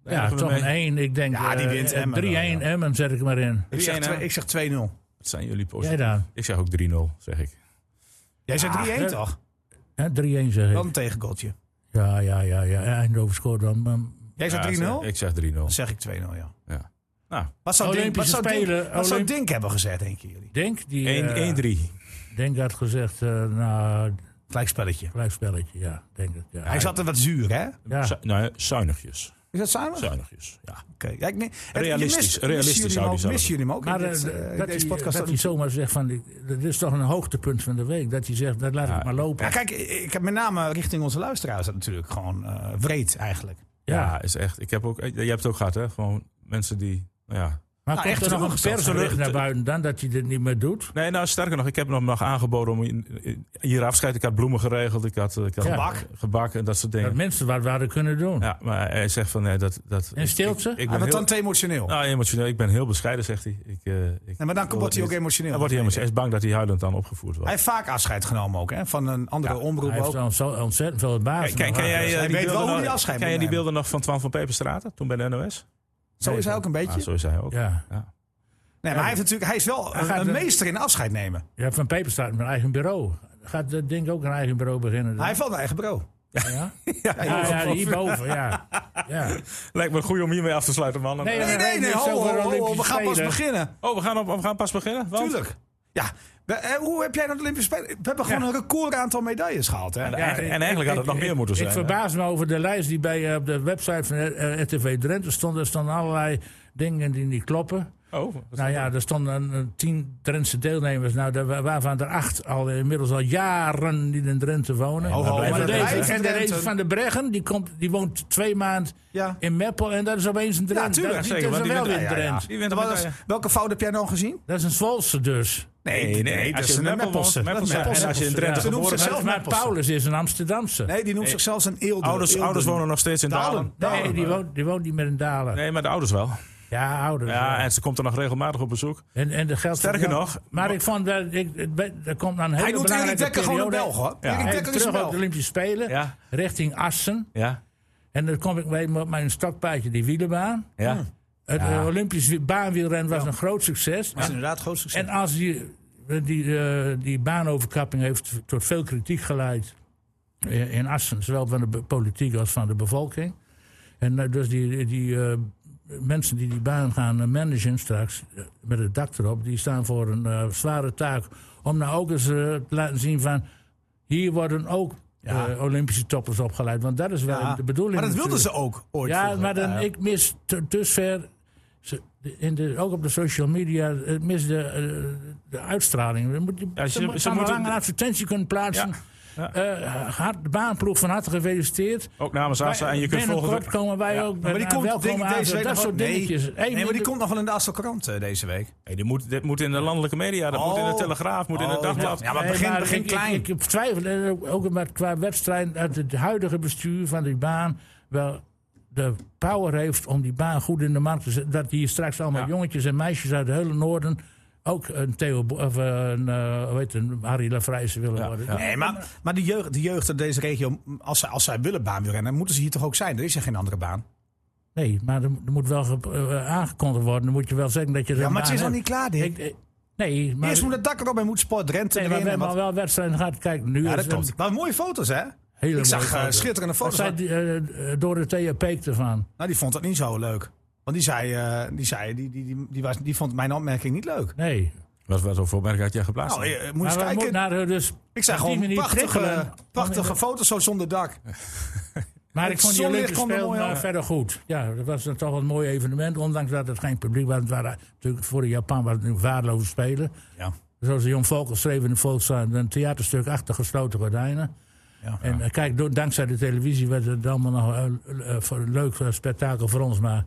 Speaker 3: Daar
Speaker 1: Ja,
Speaker 3: eindigen we
Speaker 1: toch
Speaker 3: mee.
Speaker 1: een 1. Ik denk
Speaker 4: Ja, die
Speaker 1: eh,
Speaker 4: wint
Speaker 1: eh,
Speaker 4: Emmen
Speaker 1: 3-1
Speaker 4: wel,
Speaker 1: Emmen zet ik er maar in.
Speaker 4: Ik zeg,
Speaker 3: 3-1,
Speaker 4: twee-
Speaker 3: hè?
Speaker 4: ik zeg 2-0.
Speaker 3: Wat zijn jullie
Speaker 1: Jij
Speaker 3: positief?
Speaker 1: daar.
Speaker 3: Ik zeg ook 3-0, zeg ik.
Speaker 4: Jij zegt 3-1
Speaker 1: hè?
Speaker 4: toch?
Speaker 1: Hè, 3-1 zeg
Speaker 4: Dan
Speaker 1: ik.
Speaker 4: een tegengoaltje.
Speaker 1: Ja, ja, ja. ja. Eindhoven scoort dan. ehm,
Speaker 4: Jij
Speaker 3: Ja,
Speaker 4: zegt 3-0?
Speaker 3: Ik zeg 3-0.
Speaker 1: Dus
Speaker 4: Dan zeg ik 2-0, ja.
Speaker 3: Ja. Nou,
Speaker 4: Wat zou, Dink, wat
Speaker 1: Olympische
Speaker 4: zou, Dink,
Speaker 1: Spelen,
Speaker 4: wat zou
Speaker 1: Olymp-
Speaker 4: Dink hebben gezet, denken jullie?
Speaker 1: Denk die... eh,
Speaker 3: 1-3.
Speaker 1: Denk had gezegd, eh nou,
Speaker 4: Gelijkspelletje.
Speaker 1: blijfspelletje. Ja, denk ik. Ja.
Speaker 4: Hij zat er wat zuur, hè?
Speaker 1: Ja.
Speaker 3: Zu- nou, ja, zuinigjes.
Speaker 4: Is dat samen?
Speaker 3: Zuinigjes. Ja.
Speaker 4: Oké. Ja, ik, nee, het-
Speaker 3: Realistisch,
Speaker 4: je mist-
Speaker 3: realistisch
Speaker 4: missen jullie
Speaker 3: zou
Speaker 4: hem
Speaker 3: die
Speaker 4: ook-
Speaker 3: zelf
Speaker 4: Missen jullie hem ook
Speaker 1: Maar
Speaker 4: in
Speaker 1: eh,
Speaker 4: dit, eh,
Speaker 1: dat,
Speaker 4: deze
Speaker 1: hij,
Speaker 4: podcast?
Speaker 1: dat
Speaker 4: Dat
Speaker 1: hij zomaar zegt van, die- dat is toch een hoogtepunt van de week. Dat hij zegt, dat laat ik maar lopen.
Speaker 4: Ja, kijk, ik heb met name richting onze luisteraars dat natuurlijk gewoon eh wreed eigenlijk.
Speaker 3: Ja.
Speaker 1: Ja.
Speaker 3: is echt. Ik heb ook, eh, jij hebt het ook gehad, hè? Gewoon mensen die. nou ja.
Speaker 1: Maar
Speaker 4: Nou, echt
Speaker 1: komt er nog een
Speaker 4: teleurgesteld.
Speaker 1: persbericht naar
Speaker 3: Teleurgesteld.
Speaker 1: buiten dan dat hij dit niet meer doet?
Speaker 3: Nee, nou sterker nog, ik heb hem nog aangeboden om in- in- hier afscheid. Ik had bloemen geregeld, ik had, eh, ik had
Speaker 1: Ja.
Speaker 3: gebak. gebak en dat soort
Speaker 1: Dat
Speaker 3: dingen.
Speaker 1: mensen wat waren kunnen doen.
Speaker 3: Ja, maar hij zegt van nee, dat. dat
Speaker 1: En
Speaker 3: ik-
Speaker 1: stilte?
Speaker 3: Ik, ik
Speaker 4: Hij
Speaker 3: ben
Speaker 4: wordt
Speaker 3: heel,
Speaker 4: dan te emotioneel.
Speaker 3: nou, emotioneel. Ik ben heel bescheiden, zegt hij. Ik, eh, ik,
Speaker 4: nee, maar dan wordt hij ook emotioneel.
Speaker 3: Dan wordt hij emotioneel. Hij is bang dat hij huilend dan opgevoerd wordt.
Speaker 4: Hij heeft vaak afscheid genomen ook, hè? Van een andere omroep
Speaker 1: Hij heeft
Speaker 4: ook.
Speaker 1: dan zo ontzettend veel baas.
Speaker 3: Kijk, ken, ken jij, eh,
Speaker 4: Hij
Speaker 3: die
Speaker 4: weet wel
Speaker 3: beelden
Speaker 4: hoe
Speaker 3: nog-
Speaker 4: hij afscheid
Speaker 3: ken
Speaker 4: moet
Speaker 3: jij die
Speaker 4: nemen.
Speaker 3: beelden nog van Twan van Peperstraten toen bij de NOS?
Speaker 4: Zo is hij ook een beetje.
Speaker 3: Ah, zo is hij ook.
Speaker 1: Ja.
Speaker 3: Ja.
Speaker 4: nee, maar hij, heeft natuurlijk, hij is wel een,
Speaker 1: gaat
Speaker 4: een
Speaker 1: de-
Speaker 4: meester in afscheid nemen.
Speaker 1: ja, Van Peper staat met een eigen bureau. Gaat dat ding ook een eigen bureau beginnen? dan?
Speaker 4: Hij heeft wel een eigen bureau.
Speaker 1: ja? Ja, ja, hierboven, ja. ja.
Speaker 3: Lijkt me goed om hiermee af te sluiten, man. En, eh,
Speaker 4: Nee, nee, nee, ho, ho, ho, ho, we gaan pas beginnen.
Speaker 3: Oh, we gaan, op, we gaan pas beginnen? Want-
Speaker 4: Tuurlijk. Ja, we- eh, hoe heb jij naar de Olympische Spelen? We hebben gewoon
Speaker 1: Ja.
Speaker 4: een record aantal medailles gehaald, hè?
Speaker 3: Ja, en eigenlijk had het nog meer moeten zijn,
Speaker 1: Ik
Speaker 3: hè?
Speaker 1: verbaas me over de lijst die bij eh, op de website van eh, RTV Drenthe stond. Er stonden allerlei dingen die niet kloppen.
Speaker 3: Oh, wat-
Speaker 1: Nou ja, er stonden eh, tien Drentse deelnemers. Nou, daar wa- waarvan er acht al eh, inmiddels al jaren die in Drenthe wonen.
Speaker 3: Oh,
Speaker 4: ho,
Speaker 1: en,
Speaker 4: maar
Speaker 1: er
Speaker 4: dat
Speaker 1: deze-
Speaker 4: blijft
Speaker 1: en er
Speaker 4: Drenthe.
Speaker 1: is van de Breggen, die, komt, die woont twee maanden
Speaker 4: Ja.
Speaker 1: in Meppel. En dat is opeens een Drent.
Speaker 4: tuurlijk,
Speaker 1: dat is,
Speaker 3: zeker,
Speaker 1: dat is
Speaker 3: want die
Speaker 1: wel
Speaker 3: wint-
Speaker 1: weer een
Speaker 3: ja, ja, ja.
Speaker 1: Drent.
Speaker 3: Die wint de
Speaker 4: Wat was-
Speaker 3: medaille.
Speaker 4: welke fout heb jij nou gezien?
Speaker 1: Dat is een Zwolse dus.
Speaker 4: Nee, nee, dat
Speaker 3: als
Speaker 4: is
Speaker 3: je
Speaker 4: een
Speaker 3: in Meppel woont,
Speaker 4: Meppelse.
Speaker 3: Meppelse,
Speaker 4: Dat is
Speaker 3: en als je in Drenthe
Speaker 1: Ja.
Speaker 4: Ze noemt
Speaker 3: geboren bent.
Speaker 4: zichzelf
Speaker 1: Maar
Speaker 4: Meppelse.
Speaker 1: Paulus is een Amsterdamse.
Speaker 4: Nee, die noemt zichzelf een Eelde.
Speaker 3: Ouders,
Speaker 4: Eelde-
Speaker 3: ouders wonen nog steeds in Dalen.
Speaker 4: Dalen.
Speaker 1: Nee, die woont, die woont niet meer in Dalen.
Speaker 3: Nee, maar de ouders wel.
Speaker 1: Ja, ouder.
Speaker 3: Ja, en ze komt er nog regelmatig op bezoek.
Speaker 1: En, en de geld
Speaker 3: Sterker
Speaker 1: Ja,
Speaker 3: nog-
Speaker 1: Maar ik vond dat. Ik, het be- er komt dan een hele
Speaker 4: Hij noemt Erik
Speaker 1: belangrijke
Speaker 4: Dekker gewoon een
Speaker 1: periode.
Speaker 4: Belg, hoor.
Speaker 3: Ja.
Speaker 4: Erik
Speaker 1: Hij
Speaker 4: Dekker is een
Speaker 1: terug op
Speaker 4: Belg.
Speaker 1: de Olympische Spelen.
Speaker 3: Ja.
Speaker 1: Richting Assen.
Speaker 3: Ja,
Speaker 1: En dan kom ik mee met mijn stokpaardje, die wielenbaan.
Speaker 3: ja.
Speaker 4: Hmm.
Speaker 1: Het eh, Olympisch wi- baanwielrennen was een groot succes.
Speaker 4: Dat is inderdaad groot succes.
Speaker 1: En als die, die, eh, die baanoverkapping heeft tot veel kritiek geleid in in Assen, zowel van de be- politiek als van de bevolking. En eh, dus die, die eh, mensen die die baan gaan eh, managen straks, eh, met het dak erop, die staan voor een eh, zware taak om nou ook eens eh, te laten zien van hier worden ook eh, Olympische toppers opgeleid. Want dat is wel
Speaker 4: Ja.
Speaker 1: de bedoeling.
Speaker 4: Maar dat wilden
Speaker 1: natuurlijk.
Speaker 4: ze ook ooit.
Speaker 1: Ja,
Speaker 4: vroeger.
Speaker 1: maar dan, ik mis te- dusver, ze- in de, ook op de social media, eh, mis de, eh, de uitstraling. We moeten
Speaker 3: Ja, ze-
Speaker 1: ze,
Speaker 3: ze
Speaker 1: moeten
Speaker 3: moeten-
Speaker 1: een advertentie kunnen plaatsen.
Speaker 3: Ja.
Speaker 1: Eh, hard- de baanploeg van harte gefeliciteerd.
Speaker 3: Ook namens Asa. En je kunt volgen.
Speaker 1: Binnenkort komen wij ook
Speaker 4: Maar die
Speaker 1: met
Speaker 4: komt
Speaker 1: een welkom
Speaker 4: denk ik
Speaker 1: aan,
Speaker 4: deze week
Speaker 1: dat
Speaker 4: nog
Speaker 1: soort
Speaker 4: wel-
Speaker 1: dingetjes.
Speaker 4: Nee,
Speaker 1: Hey,
Speaker 4: nee, maar die
Speaker 1: de-
Speaker 4: komt nog wel in de Assel krant eh, deze week.
Speaker 3: Nee, dit, moet, dit moet in de landelijke media. Dat moet in de
Speaker 4: Oh.
Speaker 3: Telegraaf. moet in het
Speaker 4: Oh,
Speaker 3: Dagblad.
Speaker 4: ja. maar
Speaker 1: Nee,
Speaker 4: begin- begin
Speaker 1: ik- ik-
Speaker 4: klein.
Speaker 1: Ik, twijfel eh, ook maar qua wedstrijd dat het huidige bestuur van die baan wel de power heeft om die baan goed in de markt te zetten. Dat hier straks allemaal
Speaker 3: Ja.
Speaker 1: jongetjes en meisjes uit de hele noorden ook een Theo Bo- of een, eh, hoe heet het, een Harry Lafrijzen willen
Speaker 3: Ja,
Speaker 1: worden.
Speaker 3: ja.
Speaker 4: Nee, maar, maar de jeugd, de jeugd uit deze regio, als zij, als zij willen baanwielrennen, moeten ze hier toch ook zijn? Er is er geen andere baan.
Speaker 1: Nee, maar er, mo- er moet wel ge- eh, aangekondigd worden. Dan moet je wel zeggen dat je
Speaker 4: Ja, maar het is nog niet klaar, Dick.
Speaker 1: eh, nee, maar,
Speaker 4: Eerst moet het dak erop en moet sport Drenthe
Speaker 1: nee, maar we
Speaker 4: erin. en
Speaker 1: hebben
Speaker 4: wat-
Speaker 1: al wel wedstrijden gehad. Kijk, nu
Speaker 4: Ja,
Speaker 1: is
Speaker 4: dat
Speaker 1: het een
Speaker 4: klopt. Maar mooie foto's, hè?
Speaker 1: hele
Speaker 4: Ik zag
Speaker 1: mooie
Speaker 4: eh,
Speaker 1: foto.
Speaker 4: schitterende
Speaker 1: Wat
Speaker 4: foto's.
Speaker 1: zei die, eh, Dorothea Peek ervan?
Speaker 4: Nou, die vond dat niet zo leuk. Want die zei, eh, die, zei die, die, die, die, was, die vond mijn opmerking niet leuk.
Speaker 1: Nee,
Speaker 3: Wat, wat voor merk had jij geplaatst?
Speaker 4: Nou, eh, moet je
Speaker 1: Maar
Speaker 4: eens
Speaker 1: we
Speaker 4: kijken.
Speaker 1: moeten naar eh, dus
Speaker 4: Ik zei
Speaker 1: op die
Speaker 4: gewoon
Speaker 1: manier
Speaker 4: prachtige,
Speaker 1: prikkelen.
Speaker 4: prachtige foto's zo zonder dak.
Speaker 1: eh, Maar ik
Speaker 4: Het
Speaker 1: vond die
Speaker 4: zonlicht
Speaker 1: Olympische
Speaker 4: kwam er
Speaker 1: Spelen
Speaker 4: mooi
Speaker 1: eh,
Speaker 4: af.
Speaker 1: verder goed. Ja, dat was dan toch wel een mooi evenement. Ondanks dat het geen publiek was. Het waren natuurlijk voor de Japan was het een waardeloze spelen.
Speaker 4: Ja.
Speaker 1: Zoals de Jong Volkel schreef in de Volkskrant. eh, Een theaterstuk achter gesloten gordijnen.
Speaker 4: Ja.
Speaker 1: En eh, kijk, door, dankzij de televisie werd het allemaal nog eh, eh, voor een leuk eh, spektakel voor ons. Maar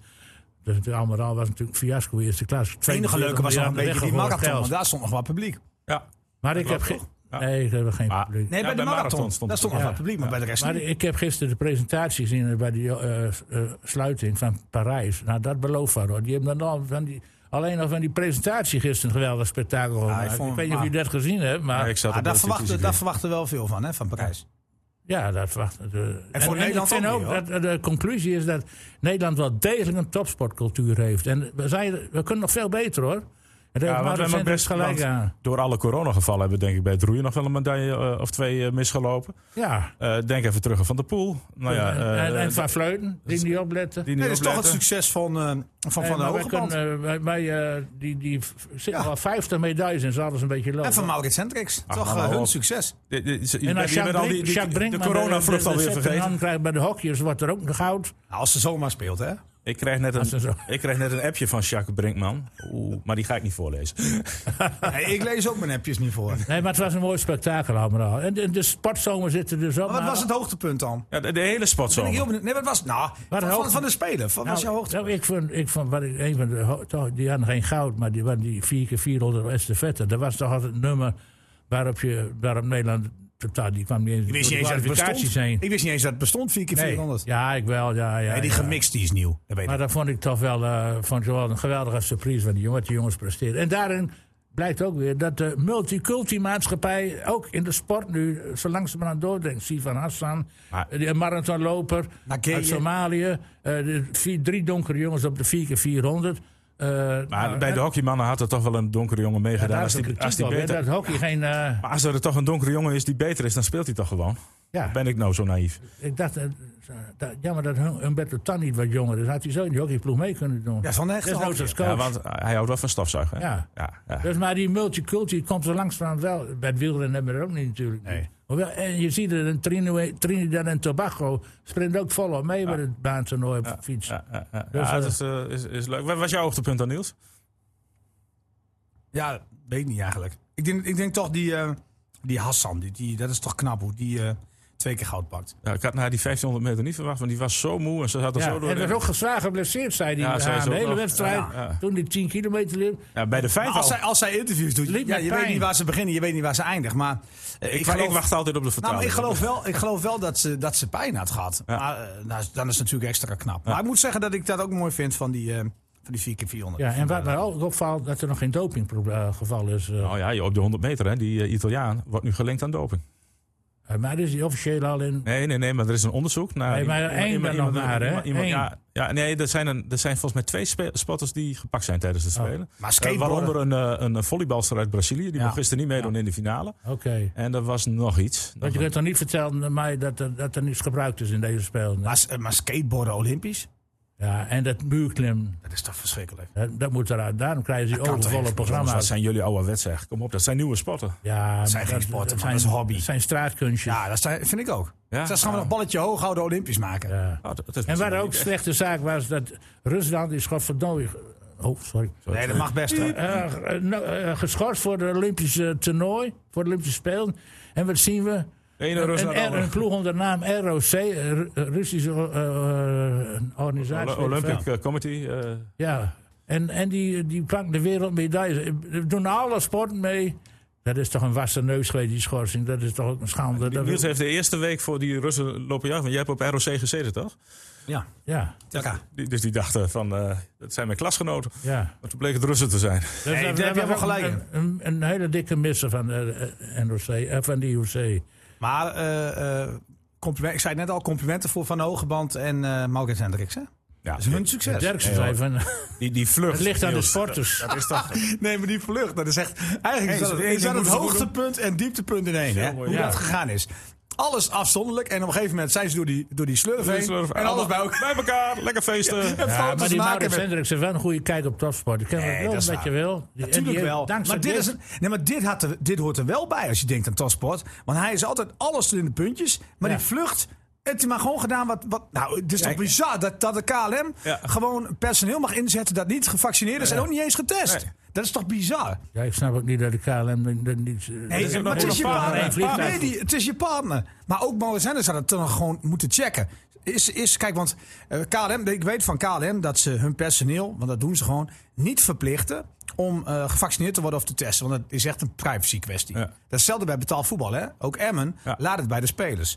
Speaker 1: dus het allemaal al was natuurlijk een fiasco eerste klas.
Speaker 4: Het enige leuke was nog een
Speaker 1: 42
Speaker 4: beetje die
Speaker 1: miljard
Speaker 4: marathon,
Speaker 1: weggegooid
Speaker 4: want daar stond nog wat publiek.
Speaker 3: ja.
Speaker 1: Maar ik heb, ge- Nee, we hebben geen
Speaker 3: Maar-
Speaker 1: publiek.
Speaker 4: Nee, bij de marathon. stond dat
Speaker 3: het
Speaker 4: stond
Speaker 3: ook.
Speaker 4: nog
Speaker 1: Ja.
Speaker 4: wel publiek, maar bij de rest
Speaker 1: Maar
Speaker 4: niet.
Speaker 1: ik heb gisteren de presentatie gezien eh, bij die eh, s- eh, sluiting van Parijs. Nou, dat belooft wat hoor. Die hebben dan al van die, alleen al van die presentatie gisteren een geweldig spektakel gemaakt. ik,
Speaker 4: vond-
Speaker 1: weet niet of
Speaker 4: maar-
Speaker 1: jullie dat gezien hebt, maar
Speaker 3: Ja, ik zat
Speaker 4: Ah,
Speaker 3: op
Speaker 4: daar,
Speaker 3: de
Speaker 4: verwachten, daar
Speaker 3: televisie.
Speaker 4: verwachten we wel veel van, hè, van Parijs.
Speaker 1: ja, dat wacht. eh,
Speaker 4: voor Nederland
Speaker 1: ik vind
Speaker 4: ook
Speaker 1: ook
Speaker 4: niet,
Speaker 1: dat eh, de conclusie is dat Nederland wel degelijk een topsportcultuur heeft. En we, zijn, we kunnen nog veel beter hoor. En daar
Speaker 3: Ja,
Speaker 1: heeft
Speaker 3: want we
Speaker 1: Maurits
Speaker 3: hebben
Speaker 1: Hendricks
Speaker 3: best
Speaker 1: gelijk
Speaker 3: want
Speaker 1: aan.
Speaker 3: Door alle coronagevallen hebben we denk ik bij het roeien nog wel een medaille eh, of twee eh, misgelopen.
Speaker 1: Ja.
Speaker 3: Eh, denk even terug aan Van der Poel. Nou ja,
Speaker 1: en,
Speaker 3: eh,
Speaker 1: en- en Van Vleuten, die niet opletten.
Speaker 3: die
Speaker 4: Nee,
Speaker 3: niet
Speaker 4: dat is toch het
Speaker 3: opletten.
Speaker 4: succes van, eh, van, van de
Speaker 1: Eh, maar wij
Speaker 4: Hogeband.
Speaker 1: kunnen, eh, wij- wij, eh, die, die v- zitten
Speaker 4: Ja.
Speaker 1: al 50 medailles en ze hadden ze een beetje lopen.
Speaker 4: En van Maurits Hendricks.
Speaker 1: Ah,
Speaker 3: Ach,
Speaker 4: toch
Speaker 3: nou,
Speaker 4: eh,
Speaker 3: nou,
Speaker 4: hun
Speaker 3: op.
Speaker 4: succes.
Speaker 3: Dit- dit- je
Speaker 1: En
Speaker 3: bent-
Speaker 1: als
Speaker 3: je bent
Speaker 1: Jacques
Speaker 3: al die-
Speaker 1: Brink-
Speaker 3: die-
Speaker 1: Jacques
Speaker 3: De
Speaker 1: Brinkman bij
Speaker 3: coronavlucht
Speaker 1: de- de
Speaker 3: alweer
Speaker 1: zet in
Speaker 3: vergeten.
Speaker 1: hand krijgt bij de hokjes, wordt er ook nog goud.
Speaker 4: Nou, als ze zomaar speelt, hè.
Speaker 3: Ik kreeg, net
Speaker 1: Als ze zo-
Speaker 3: een, ik kreeg net een appje van Jacques Brinkman. Oeh, maar die ga ik niet voorlezen.
Speaker 4: Nee, ik lees ook mijn appjes niet voor. Maar
Speaker 1: Nee, maar het was een mooi spektakel allemaal. En de, de sportzomer zit er dus op.
Speaker 4: wat
Speaker 1: maar-
Speaker 4: was het hoogtepunt dan?
Speaker 3: Ja, de, de hele
Speaker 4: Ben ik heel
Speaker 3: spotzomer.
Speaker 4: benieuwd. Nee, wat was nou, van, van,
Speaker 1: hoogte-
Speaker 4: van de Spelen. Wat was
Speaker 1: Nou,
Speaker 4: jouw hoogtepunt?
Speaker 1: nou, ik vond, ik vond wat ik, een van de, ho- toch, die hadden geen goud, maar die, waren die 4 keer 400 estafette. Dat was toch altijd het nummer waarop, je, waarop Nederland totaal, die kwam niet eens
Speaker 4: Ik
Speaker 1: door
Speaker 4: wist
Speaker 1: de
Speaker 4: niet eens dat het
Speaker 1: kwalificaties
Speaker 4: bestond.
Speaker 1: heen.
Speaker 4: Ik wist niet eens dat het bestond, 4 keer
Speaker 1: Nee.
Speaker 4: 400.
Speaker 1: Ja, ik wel, ja, ja.
Speaker 4: Nee, die
Speaker 1: ja.
Speaker 4: gemixt die is nieuw. Dat weet
Speaker 1: Maar
Speaker 4: ik.
Speaker 1: dat vond ik toch wel, eh, vond ik wel een geweldige surprise wat die, jongen, wat die jongens presteren. En daarin blijkt ook weer dat de multiculti-maatschappij ook in de sport nu eh, zo langzamerhand doordringt. Sivan Hassan,
Speaker 3: Maar-
Speaker 1: eh, die marathonloper
Speaker 4: Nakeye.
Speaker 1: uit Somalië. eh, de vier- drie donkere jongens op de 4x400. eh,
Speaker 3: Maar
Speaker 1: nou,
Speaker 3: bij de hockeymannen had er toch wel een donkere jongen
Speaker 1: ja,
Speaker 3: meegedaan.
Speaker 1: daar is
Speaker 3: als,
Speaker 1: de
Speaker 3: die,
Speaker 1: kritiek
Speaker 3: als die
Speaker 1: op, hè,
Speaker 3: beter,
Speaker 1: dat hockey geen... eh,
Speaker 3: maar als er toch een donkere jongen is die beter is, dan speelt hij toch gewoon?
Speaker 1: ja,
Speaker 3: Ben ik nou zo naïef?
Speaker 1: ik dacht, eh, dat, jammer dat Hum- Humberto Tan niet wat jonger is. Had hij zo in die hockeyploeg mee kunnen doen.
Speaker 4: Ja, van de echte
Speaker 1: Desnoods
Speaker 4: hockey.
Speaker 1: als coach.
Speaker 3: Ja, want hij houdt wel van stofzuigen. hè?
Speaker 1: Ja.
Speaker 3: Ja, ja.
Speaker 1: Dus maar die multiculti komt er langzamerhand wel. Bij het wielrennen hebben we dat ook niet natuurlijk.
Speaker 4: Nee.
Speaker 1: Hoewel, en je ziet het in Trinidad- Trinidad en Tobago sprint ook volop mee met het baantoernooi op fiets.
Speaker 3: Ja, ja, ja.
Speaker 1: Dus,
Speaker 3: Ja,
Speaker 1: eh,
Speaker 3: dat is, eh, is, is leuk. Wat was jouw hoogtepunt dan, Niels?
Speaker 4: Ja, weet ik niet eigenlijk. Ik denk, ik denk toch die, eh, die Hassan, die, die, dat is toch knap hoe die eh, twee keer goud pakt.
Speaker 3: Ja, ik had naar die 1500 meter niet verwacht, want die was zo moe en ze zat er
Speaker 1: Ja,
Speaker 3: zo door.
Speaker 1: en dat
Speaker 3: in.
Speaker 1: is ook gezwaar geblesseerd, zei hij
Speaker 3: Ja, zei
Speaker 1: aan
Speaker 3: ze
Speaker 1: de
Speaker 3: ook
Speaker 1: hele
Speaker 3: nog.
Speaker 1: wedstrijd.
Speaker 3: Ja, ja.
Speaker 1: Toen die 10 kilometer liep.
Speaker 3: ja, bij de
Speaker 4: Maar
Speaker 1: Nou,
Speaker 3: 5
Speaker 4: als zij, als zij interviews doet,
Speaker 1: Liep
Speaker 4: ja,
Speaker 1: met
Speaker 4: je weet
Speaker 1: pijn.
Speaker 4: niet waar ze beginnen, je weet niet waar ze eindigt. Maar eh,
Speaker 3: ik, ik wacht altijd op de
Speaker 4: Nou,
Speaker 3: vertaling.
Speaker 4: maar ik geloof wel, ik geloof wel dat, ze, dat ze pijn had gehad.
Speaker 3: Ja.
Speaker 4: Maar eh, nou, dan is het natuurlijk extra knap. Maar ik moet zeggen dat ik dat ook mooi vind van die, eh van die 4 keer 400
Speaker 1: Ja, en wat mij ook opvalt, dat er nog geen dopinggeval is. eh.
Speaker 3: Nou ja, je- op de 100 meter, hè, die eh, Italiaan wordt nu gelinkt aan doping.
Speaker 1: Maar is die officieel al in.
Speaker 3: Nee, nee, nee, maar er is een onderzoek naar.
Speaker 1: Nee, maar één dan nog maar, hè?
Speaker 3: iemand- iemand-
Speaker 1: Eén.
Speaker 3: ja, ja, nee, er zijn, een, er zijn volgens mij twee spe- spotters die gepakt zijn tijdens de
Speaker 1: Oh.
Speaker 3: Spelen.
Speaker 4: Maar
Speaker 3: Eh, waaronder
Speaker 4: skateboarden,
Speaker 3: een, eh, een volleybalster uit Brazilië, die
Speaker 4: Ja.
Speaker 3: mocht gisteren niet meedoen in de finale.
Speaker 1: Oké.
Speaker 3: En er was nog iets. Nou,
Speaker 1: Want je kunt toch niet vertellen aan mij dat er, dat er niets gebruikt is in deze spelen.
Speaker 4: maar, s- eh, maar skateboarden olympisch,
Speaker 1: Ja, en dat muurklim,
Speaker 4: dat is toch verschrikkelijk.
Speaker 1: dat, dat moet eruit. Daarom krijgen ze die
Speaker 4: kan toch
Speaker 1: overvolle
Speaker 4: echt niet,
Speaker 3: Jongens,
Speaker 1: programma's.
Speaker 3: Wat zijn jullie ouderwets, zeg. Kom op, dat zijn nieuwe sporten.
Speaker 1: Ja,
Speaker 4: zijn
Speaker 1: maar
Speaker 4: geen sporten, man, dat is een hobby.
Speaker 1: dat zijn straatkunstjes.
Speaker 4: Ja, dat zijn- vind ik ook.
Speaker 3: Ja?
Speaker 4: Dus gaan we nog balletje hoog houden olympisch maken.
Speaker 1: Ja.
Speaker 3: Oh, dat- dat is
Speaker 1: En waar
Speaker 3: misschien
Speaker 1: ook
Speaker 3: niet echt.
Speaker 1: slechte zaak was, dat Rusland is godverdomme... Oh, sorry.
Speaker 4: Nee, dat mag best hoor.
Speaker 1: Eh, eh, nou, eh, geschorst voor de Olympische toernooi, voor de Olympische Spelen. En wat zien we?
Speaker 3: De ene Rus
Speaker 1: Een,
Speaker 3: naar de
Speaker 1: een-
Speaker 3: andere.
Speaker 1: een ploeg onder naam ROC, eh, Ru- Russische eh, eh, organisatie.
Speaker 3: Olympic Olympic eh, Committee. eh,
Speaker 1: Ja, en, en die, die pakken de wereldmedaille. We doen alle sporten mee. Dat is toch een wasse neus geweest, die schorsing. Dat is toch ook een schande. Dat-
Speaker 3: Niels heeft de eerste week voor die Russen lopen jagen. Want jij hebt op ROC gezeten, toch?
Speaker 4: Ja.
Speaker 1: Ja,
Speaker 4: Ja.
Speaker 3: Die- Dus die dachten van, eh, dat zijn mijn klasgenoten.
Speaker 1: ja.
Speaker 3: Maar toen bleek het Russen te zijn.
Speaker 1: Dus
Speaker 4: Nee,
Speaker 1: dat-
Speaker 4: daar
Speaker 1: dat
Speaker 4: heb je wel
Speaker 1: was
Speaker 4: gelijk
Speaker 1: Een, een, een hele dikke misser van de eh, NOC, eh, van de IOC.
Speaker 4: Maar eh, eh, compliment, ik zei net al, complimenten voor Van Hogeband en eh Maurits Hendricks. Hè?
Speaker 3: Ja,
Speaker 4: Dat is hun succes.
Speaker 1: Derksen zei van,
Speaker 3: die, die vlucht.
Speaker 1: het ligt aan de
Speaker 3: Niels,
Speaker 1: sporters.
Speaker 3: Dat is toch...
Speaker 4: Nee, maar die vlucht, dat is echt. Eigenlijk is
Speaker 3: Hey,
Speaker 4: dat,
Speaker 3: zo- één
Speaker 4: is dat
Speaker 3: ding moeten
Speaker 4: het
Speaker 3: ze goed
Speaker 4: hoogtepunt en dieptepunt in één. Hè?
Speaker 3: mooi,
Speaker 4: Hoe
Speaker 1: ja.
Speaker 4: dat gegaan is. Alles afzonderlijk en op een gegeven moment zijn ze door die, door die slurf heen. en alles bij elkaar.
Speaker 3: bij elkaar, lekker feesten.
Speaker 1: Ja,
Speaker 4: foto's
Speaker 1: maar die
Speaker 4: maken
Speaker 1: Maurits
Speaker 4: met-
Speaker 1: Hendricks heeft wel een goede kijk op topsport. Ik ken
Speaker 4: Nee,
Speaker 1: wel
Speaker 4: dat is
Speaker 1: wat
Speaker 4: waar.
Speaker 1: je wil. Die- en
Speaker 4: Natuurlijk
Speaker 1: die heeft
Speaker 4: wel.
Speaker 1: dankzij
Speaker 4: Maar, dit, is een, nee, maar dit, had er, dit hoort er wel bij als je denkt aan topsport. Want hij is altijd alles in de puntjes. Maar
Speaker 1: Ja.
Speaker 4: die vlucht. Het is maar gewoon gedaan wat. wat nou, het is toch bizar dat, dat de KLM
Speaker 3: Ja.
Speaker 4: gewoon personeel mag inzetten dat niet gevaccineerd is en ook niet eens getest.
Speaker 3: Nee.
Speaker 4: Dat is toch bizar?
Speaker 1: Ja, ik snap ook niet dat de KLM dat niet... eh,
Speaker 4: Nee,
Speaker 3: is ook
Speaker 4: maar
Speaker 3: nog
Speaker 4: het is je
Speaker 3: een paar-
Speaker 4: partner.
Speaker 3: een vliegtuig.
Speaker 4: Nee, die, het is je partner. Maar ook Maurits Henders had het dan gewoon moeten checken. Is, is, kijk, want eh, KLM, ik weet van KLM dat ze hun personeel, want dat doen ze gewoon, niet verplichten om eh, gevaccineerd te worden of te testen. Want dat is echt een privacy kwestie.
Speaker 3: Ja.
Speaker 4: Dat is hetzelfde bij betaald voetbal, hè? Ook Emmen
Speaker 3: Ja.
Speaker 4: laat het bij de spelers.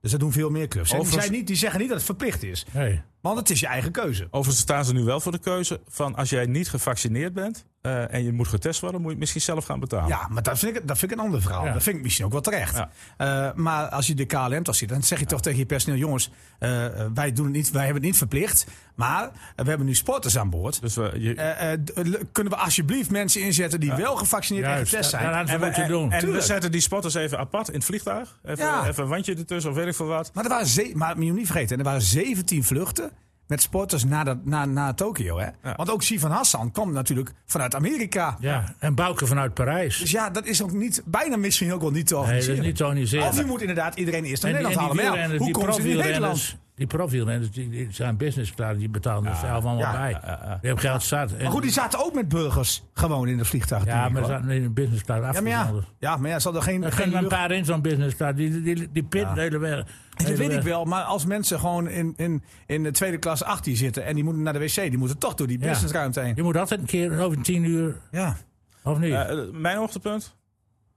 Speaker 4: Dus dat doen veel meer clubs. En die,
Speaker 3: Overigens-
Speaker 4: zijn niet, die zeggen niet dat het verplicht is.
Speaker 1: nee.
Speaker 4: Want het is je eigen keuze.
Speaker 3: Overigens staan ze nu wel voor de keuze van als jij niet gevaccineerd bent eh, en je moet getest worden, moet je het misschien zelf gaan betalen.
Speaker 4: Ja, maar dat vind ik, dat vind ik een ander verhaal.
Speaker 1: Oh. Ja.
Speaker 4: Dat vind ik misschien ook wel terecht.
Speaker 3: Ja.
Speaker 4: Eh, maar als je de KLM toch ziet, dan zeg je toch tegen je personeel: jongens, eh, eh, wij, doen het niet, wij hebben het niet verplicht. Maar eh, we hebben nu sporters aan boord.
Speaker 3: Dus we, je,
Speaker 4: Eh, eh, d- le- kunnen we alsjeblieft mensen inzetten die wel gevaccineerd en
Speaker 1: Juist,
Speaker 4: getest
Speaker 1: dat-
Speaker 4: zijn?
Speaker 1: dat hadden
Speaker 3: en
Speaker 1: we
Speaker 3: we,
Speaker 1: moeten
Speaker 3: en-
Speaker 1: doen.
Speaker 3: en we
Speaker 4: Tuurlijk.
Speaker 3: zetten die spotters even apart in het vliegtuig. Even,
Speaker 4: Ja.
Speaker 3: even een wandje ertussen of weet ik veel wat.
Speaker 4: maar er waren ze- maar je moet niet vergeten, er waren 17 vluchten met sporters naar, dat, naar, naar Tokio. Hè?
Speaker 3: Ja.
Speaker 4: Want ook Sivan Hassan kwam natuurlijk vanuit Amerika.
Speaker 1: Ja, en Bouke vanuit Parijs.
Speaker 4: Dus ja, dat is ook niet, bijna misschien ook wel niet te
Speaker 1: nee, dat
Speaker 4: organiseren.
Speaker 1: is niet te organiseren.
Speaker 4: Of je moet inderdaad iedereen eerst
Speaker 1: En
Speaker 4: naar
Speaker 1: die-
Speaker 4: Nederland
Speaker 1: en die wielrenners,
Speaker 4: halen. Maar ja, hoe
Speaker 1: die
Speaker 4: komt het in
Speaker 1: profielrenners,
Speaker 4: Nederland?
Speaker 1: Die profielrenners die, die zijn businessklaar, die betalen er zelf allemaal
Speaker 4: ja,
Speaker 1: bij. Die hebben geld zat. En-
Speaker 4: Maar goed, die zaten ook met burgers gewoon in de vliegtuig.
Speaker 1: ja,
Speaker 4: natuurlijk,
Speaker 1: maar ze
Speaker 4: hoor.
Speaker 1: zaten in een businessklaar
Speaker 4: ja, maar ja,
Speaker 1: afgezonderd.
Speaker 4: ja, maar ja, zal er geen...
Speaker 1: Er
Speaker 4: geen
Speaker 1: gingen maar een
Speaker 4: lucht-
Speaker 1: paar in zo'n businessklaar. Die, die, die, die pit de hele weg.
Speaker 4: dat
Speaker 1: hele
Speaker 4: weet
Speaker 1: weg.
Speaker 4: ik wel, maar als mensen gewoon in, in, in de tweede klas 18 zitten en die moeten naar de wc, die moeten toch door die
Speaker 1: Ja. Oh,
Speaker 4: businessruimte heen.
Speaker 1: Je moet altijd een keer over tien uur,
Speaker 4: Ja. Oh,
Speaker 1: of niet?
Speaker 3: Eh, eh, mijn hoogtepunt?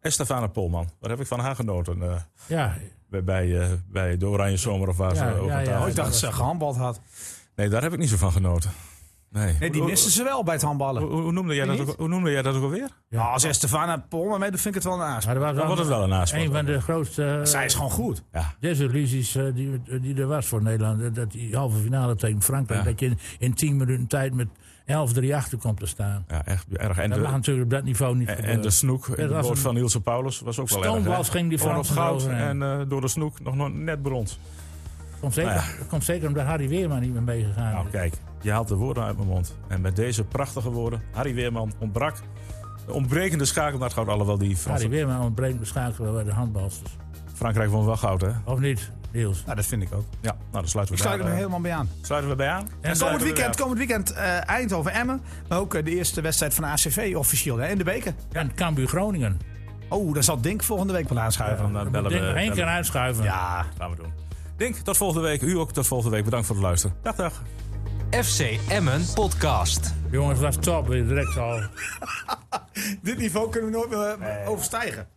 Speaker 3: Estefana Polman. Waar heb ik van haar genoten? eh,
Speaker 1: ja,
Speaker 3: bij, bij, eh, bij de Oranje Zomer of waar
Speaker 1: Ja,
Speaker 3: ze ook
Speaker 1: ja,
Speaker 3: aan
Speaker 1: ja.
Speaker 3: tafel
Speaker 4: Oh, ik dacht dat
Speaker 3: zat.
Speaker 4: ze gehandbald had.
Speaker 3: Nee, daar heb ik niet zo van genoten. Nee,
Speaker 4: Nee, die
Speaker 1: Oh,
Speaker 3: Hoe-
Speaker 4: misten ze wel bij het handballen.
Speaker 3: hoe, hoe, hoe noemde jij
Speaker 4: Nee,
Speaker 3: dat ook,
Speaker 4: niet?
Speaker 3: hoe noemde jij dat ook alweer?
Speaker 4: Nou, als Estefana Polman mee, dan vind ik het wel een aas.
Speaker 1: maar dat was
Speaker 3: Dan
Speaker 1: wel
Speaker 3: wordt het wel een aanspraak.
Speaker 1: een van de grootste eh,
Speaker 4: Zij is gewoon goed.
Speaker 3: Ja.
Speaker 1: desillusies eh, die, die er was voor Nederland. Dat- Dat die halve finale tegen Frankrijk,
Speaker 3: Ja.
Speaker 1: dat je in, in tien minuten tijd met 11-3 achter komt te staan.
Speaker 3: ja, echt erg. En
Speaker 1: Dat mag
Speaker 3: de,
Speaker 1: natuurlijk op dat niveau niet
Speaker 3: en, dus- en
Speaker 1: gebeuren.
Speaker 3: de snoek in
Speaker 1: Dat
Speaker 3: de
Speaker 1: was
Speaker 3: boot
Speaker 1: een-
Speaker 3: van Nielse Paulus was ook wel erg. hè?
Speaker 1: Stoomwals ging die
Speaker 3: Gewoon op
Speaker 1: Fransen
Speaker 3: goud
Speaker 1: eroverheen.
Speaker 3: en eh, door de snoek nog nooit- net brons.
Speaker 1: Komt zeker,
Speaker 3: Nou ja.
Speaker 1: dat komt zeker omdat Harry Weerman niet meer meegegaan
Speaker 3: Nou
Speaker 1: is.
Speaker 3: kijk, je haalt de woorden uit mijn mond. En met deze prachtige woorden, Harry Weerman ontbrak de ontbrekende schakel naar het goud. Alhoewel die
Speaker 1: Harry
Speaker 3: Fransen,
Speaker 1: Weerman ontbreekt beschakelen bij de handbalsters.
Speaker 3: Frankrijk won wel goud hè.
Speaker 1: Of niet, Niels?
Speaker 4: Nou, dat vind ik ook.
Speaker 3: Ja, nou dan sluiten
Speaker 4: Ik
Speaker 3: we,
Speaker 4: sluit
Speaker 3: daar,
Speaker 4: er
Speaker 3: eh,
Speaker 4: helemaal bij aan.
Speaker 3: sluiten we bij aan. En,
Speaker 4: Komend
Speaker 3: sluiten we weer
Speaker 4: weekend,
Speaker 3: af.
Speaker 4: komend weekend eh, Eindhoven Emmen. Maar ook eh, de eerste wedstrijd van de ACV officieel hè, in de beker.
Speaker 1: En Cambuur Groningen.
Speaker 4: Oh, daar zal Dink volgende week wel aanschuiven.
Speaker 3: Dan, eh,
Speaker 1: Dan
Speaker 3: bellen
Speaker 1: moet ik
Speaker 3: we.
Speaker 1: nog één
Speaker 3: bellen-
Speaker 1: keer uitschuiven.
Speaker 4: ja.
Speaker 3: Gaan we doen. Dink, tot volgende week. U ook tot volgende week. Bedankt voor het luisteren. Dag, dag.
Speaker 2: FC Emmen Podcast.
Speaker 1: Jongens, dat is top. Direct al.
Speaker 4: Dit niveau kunnen we nooit meer eh, overstijgen.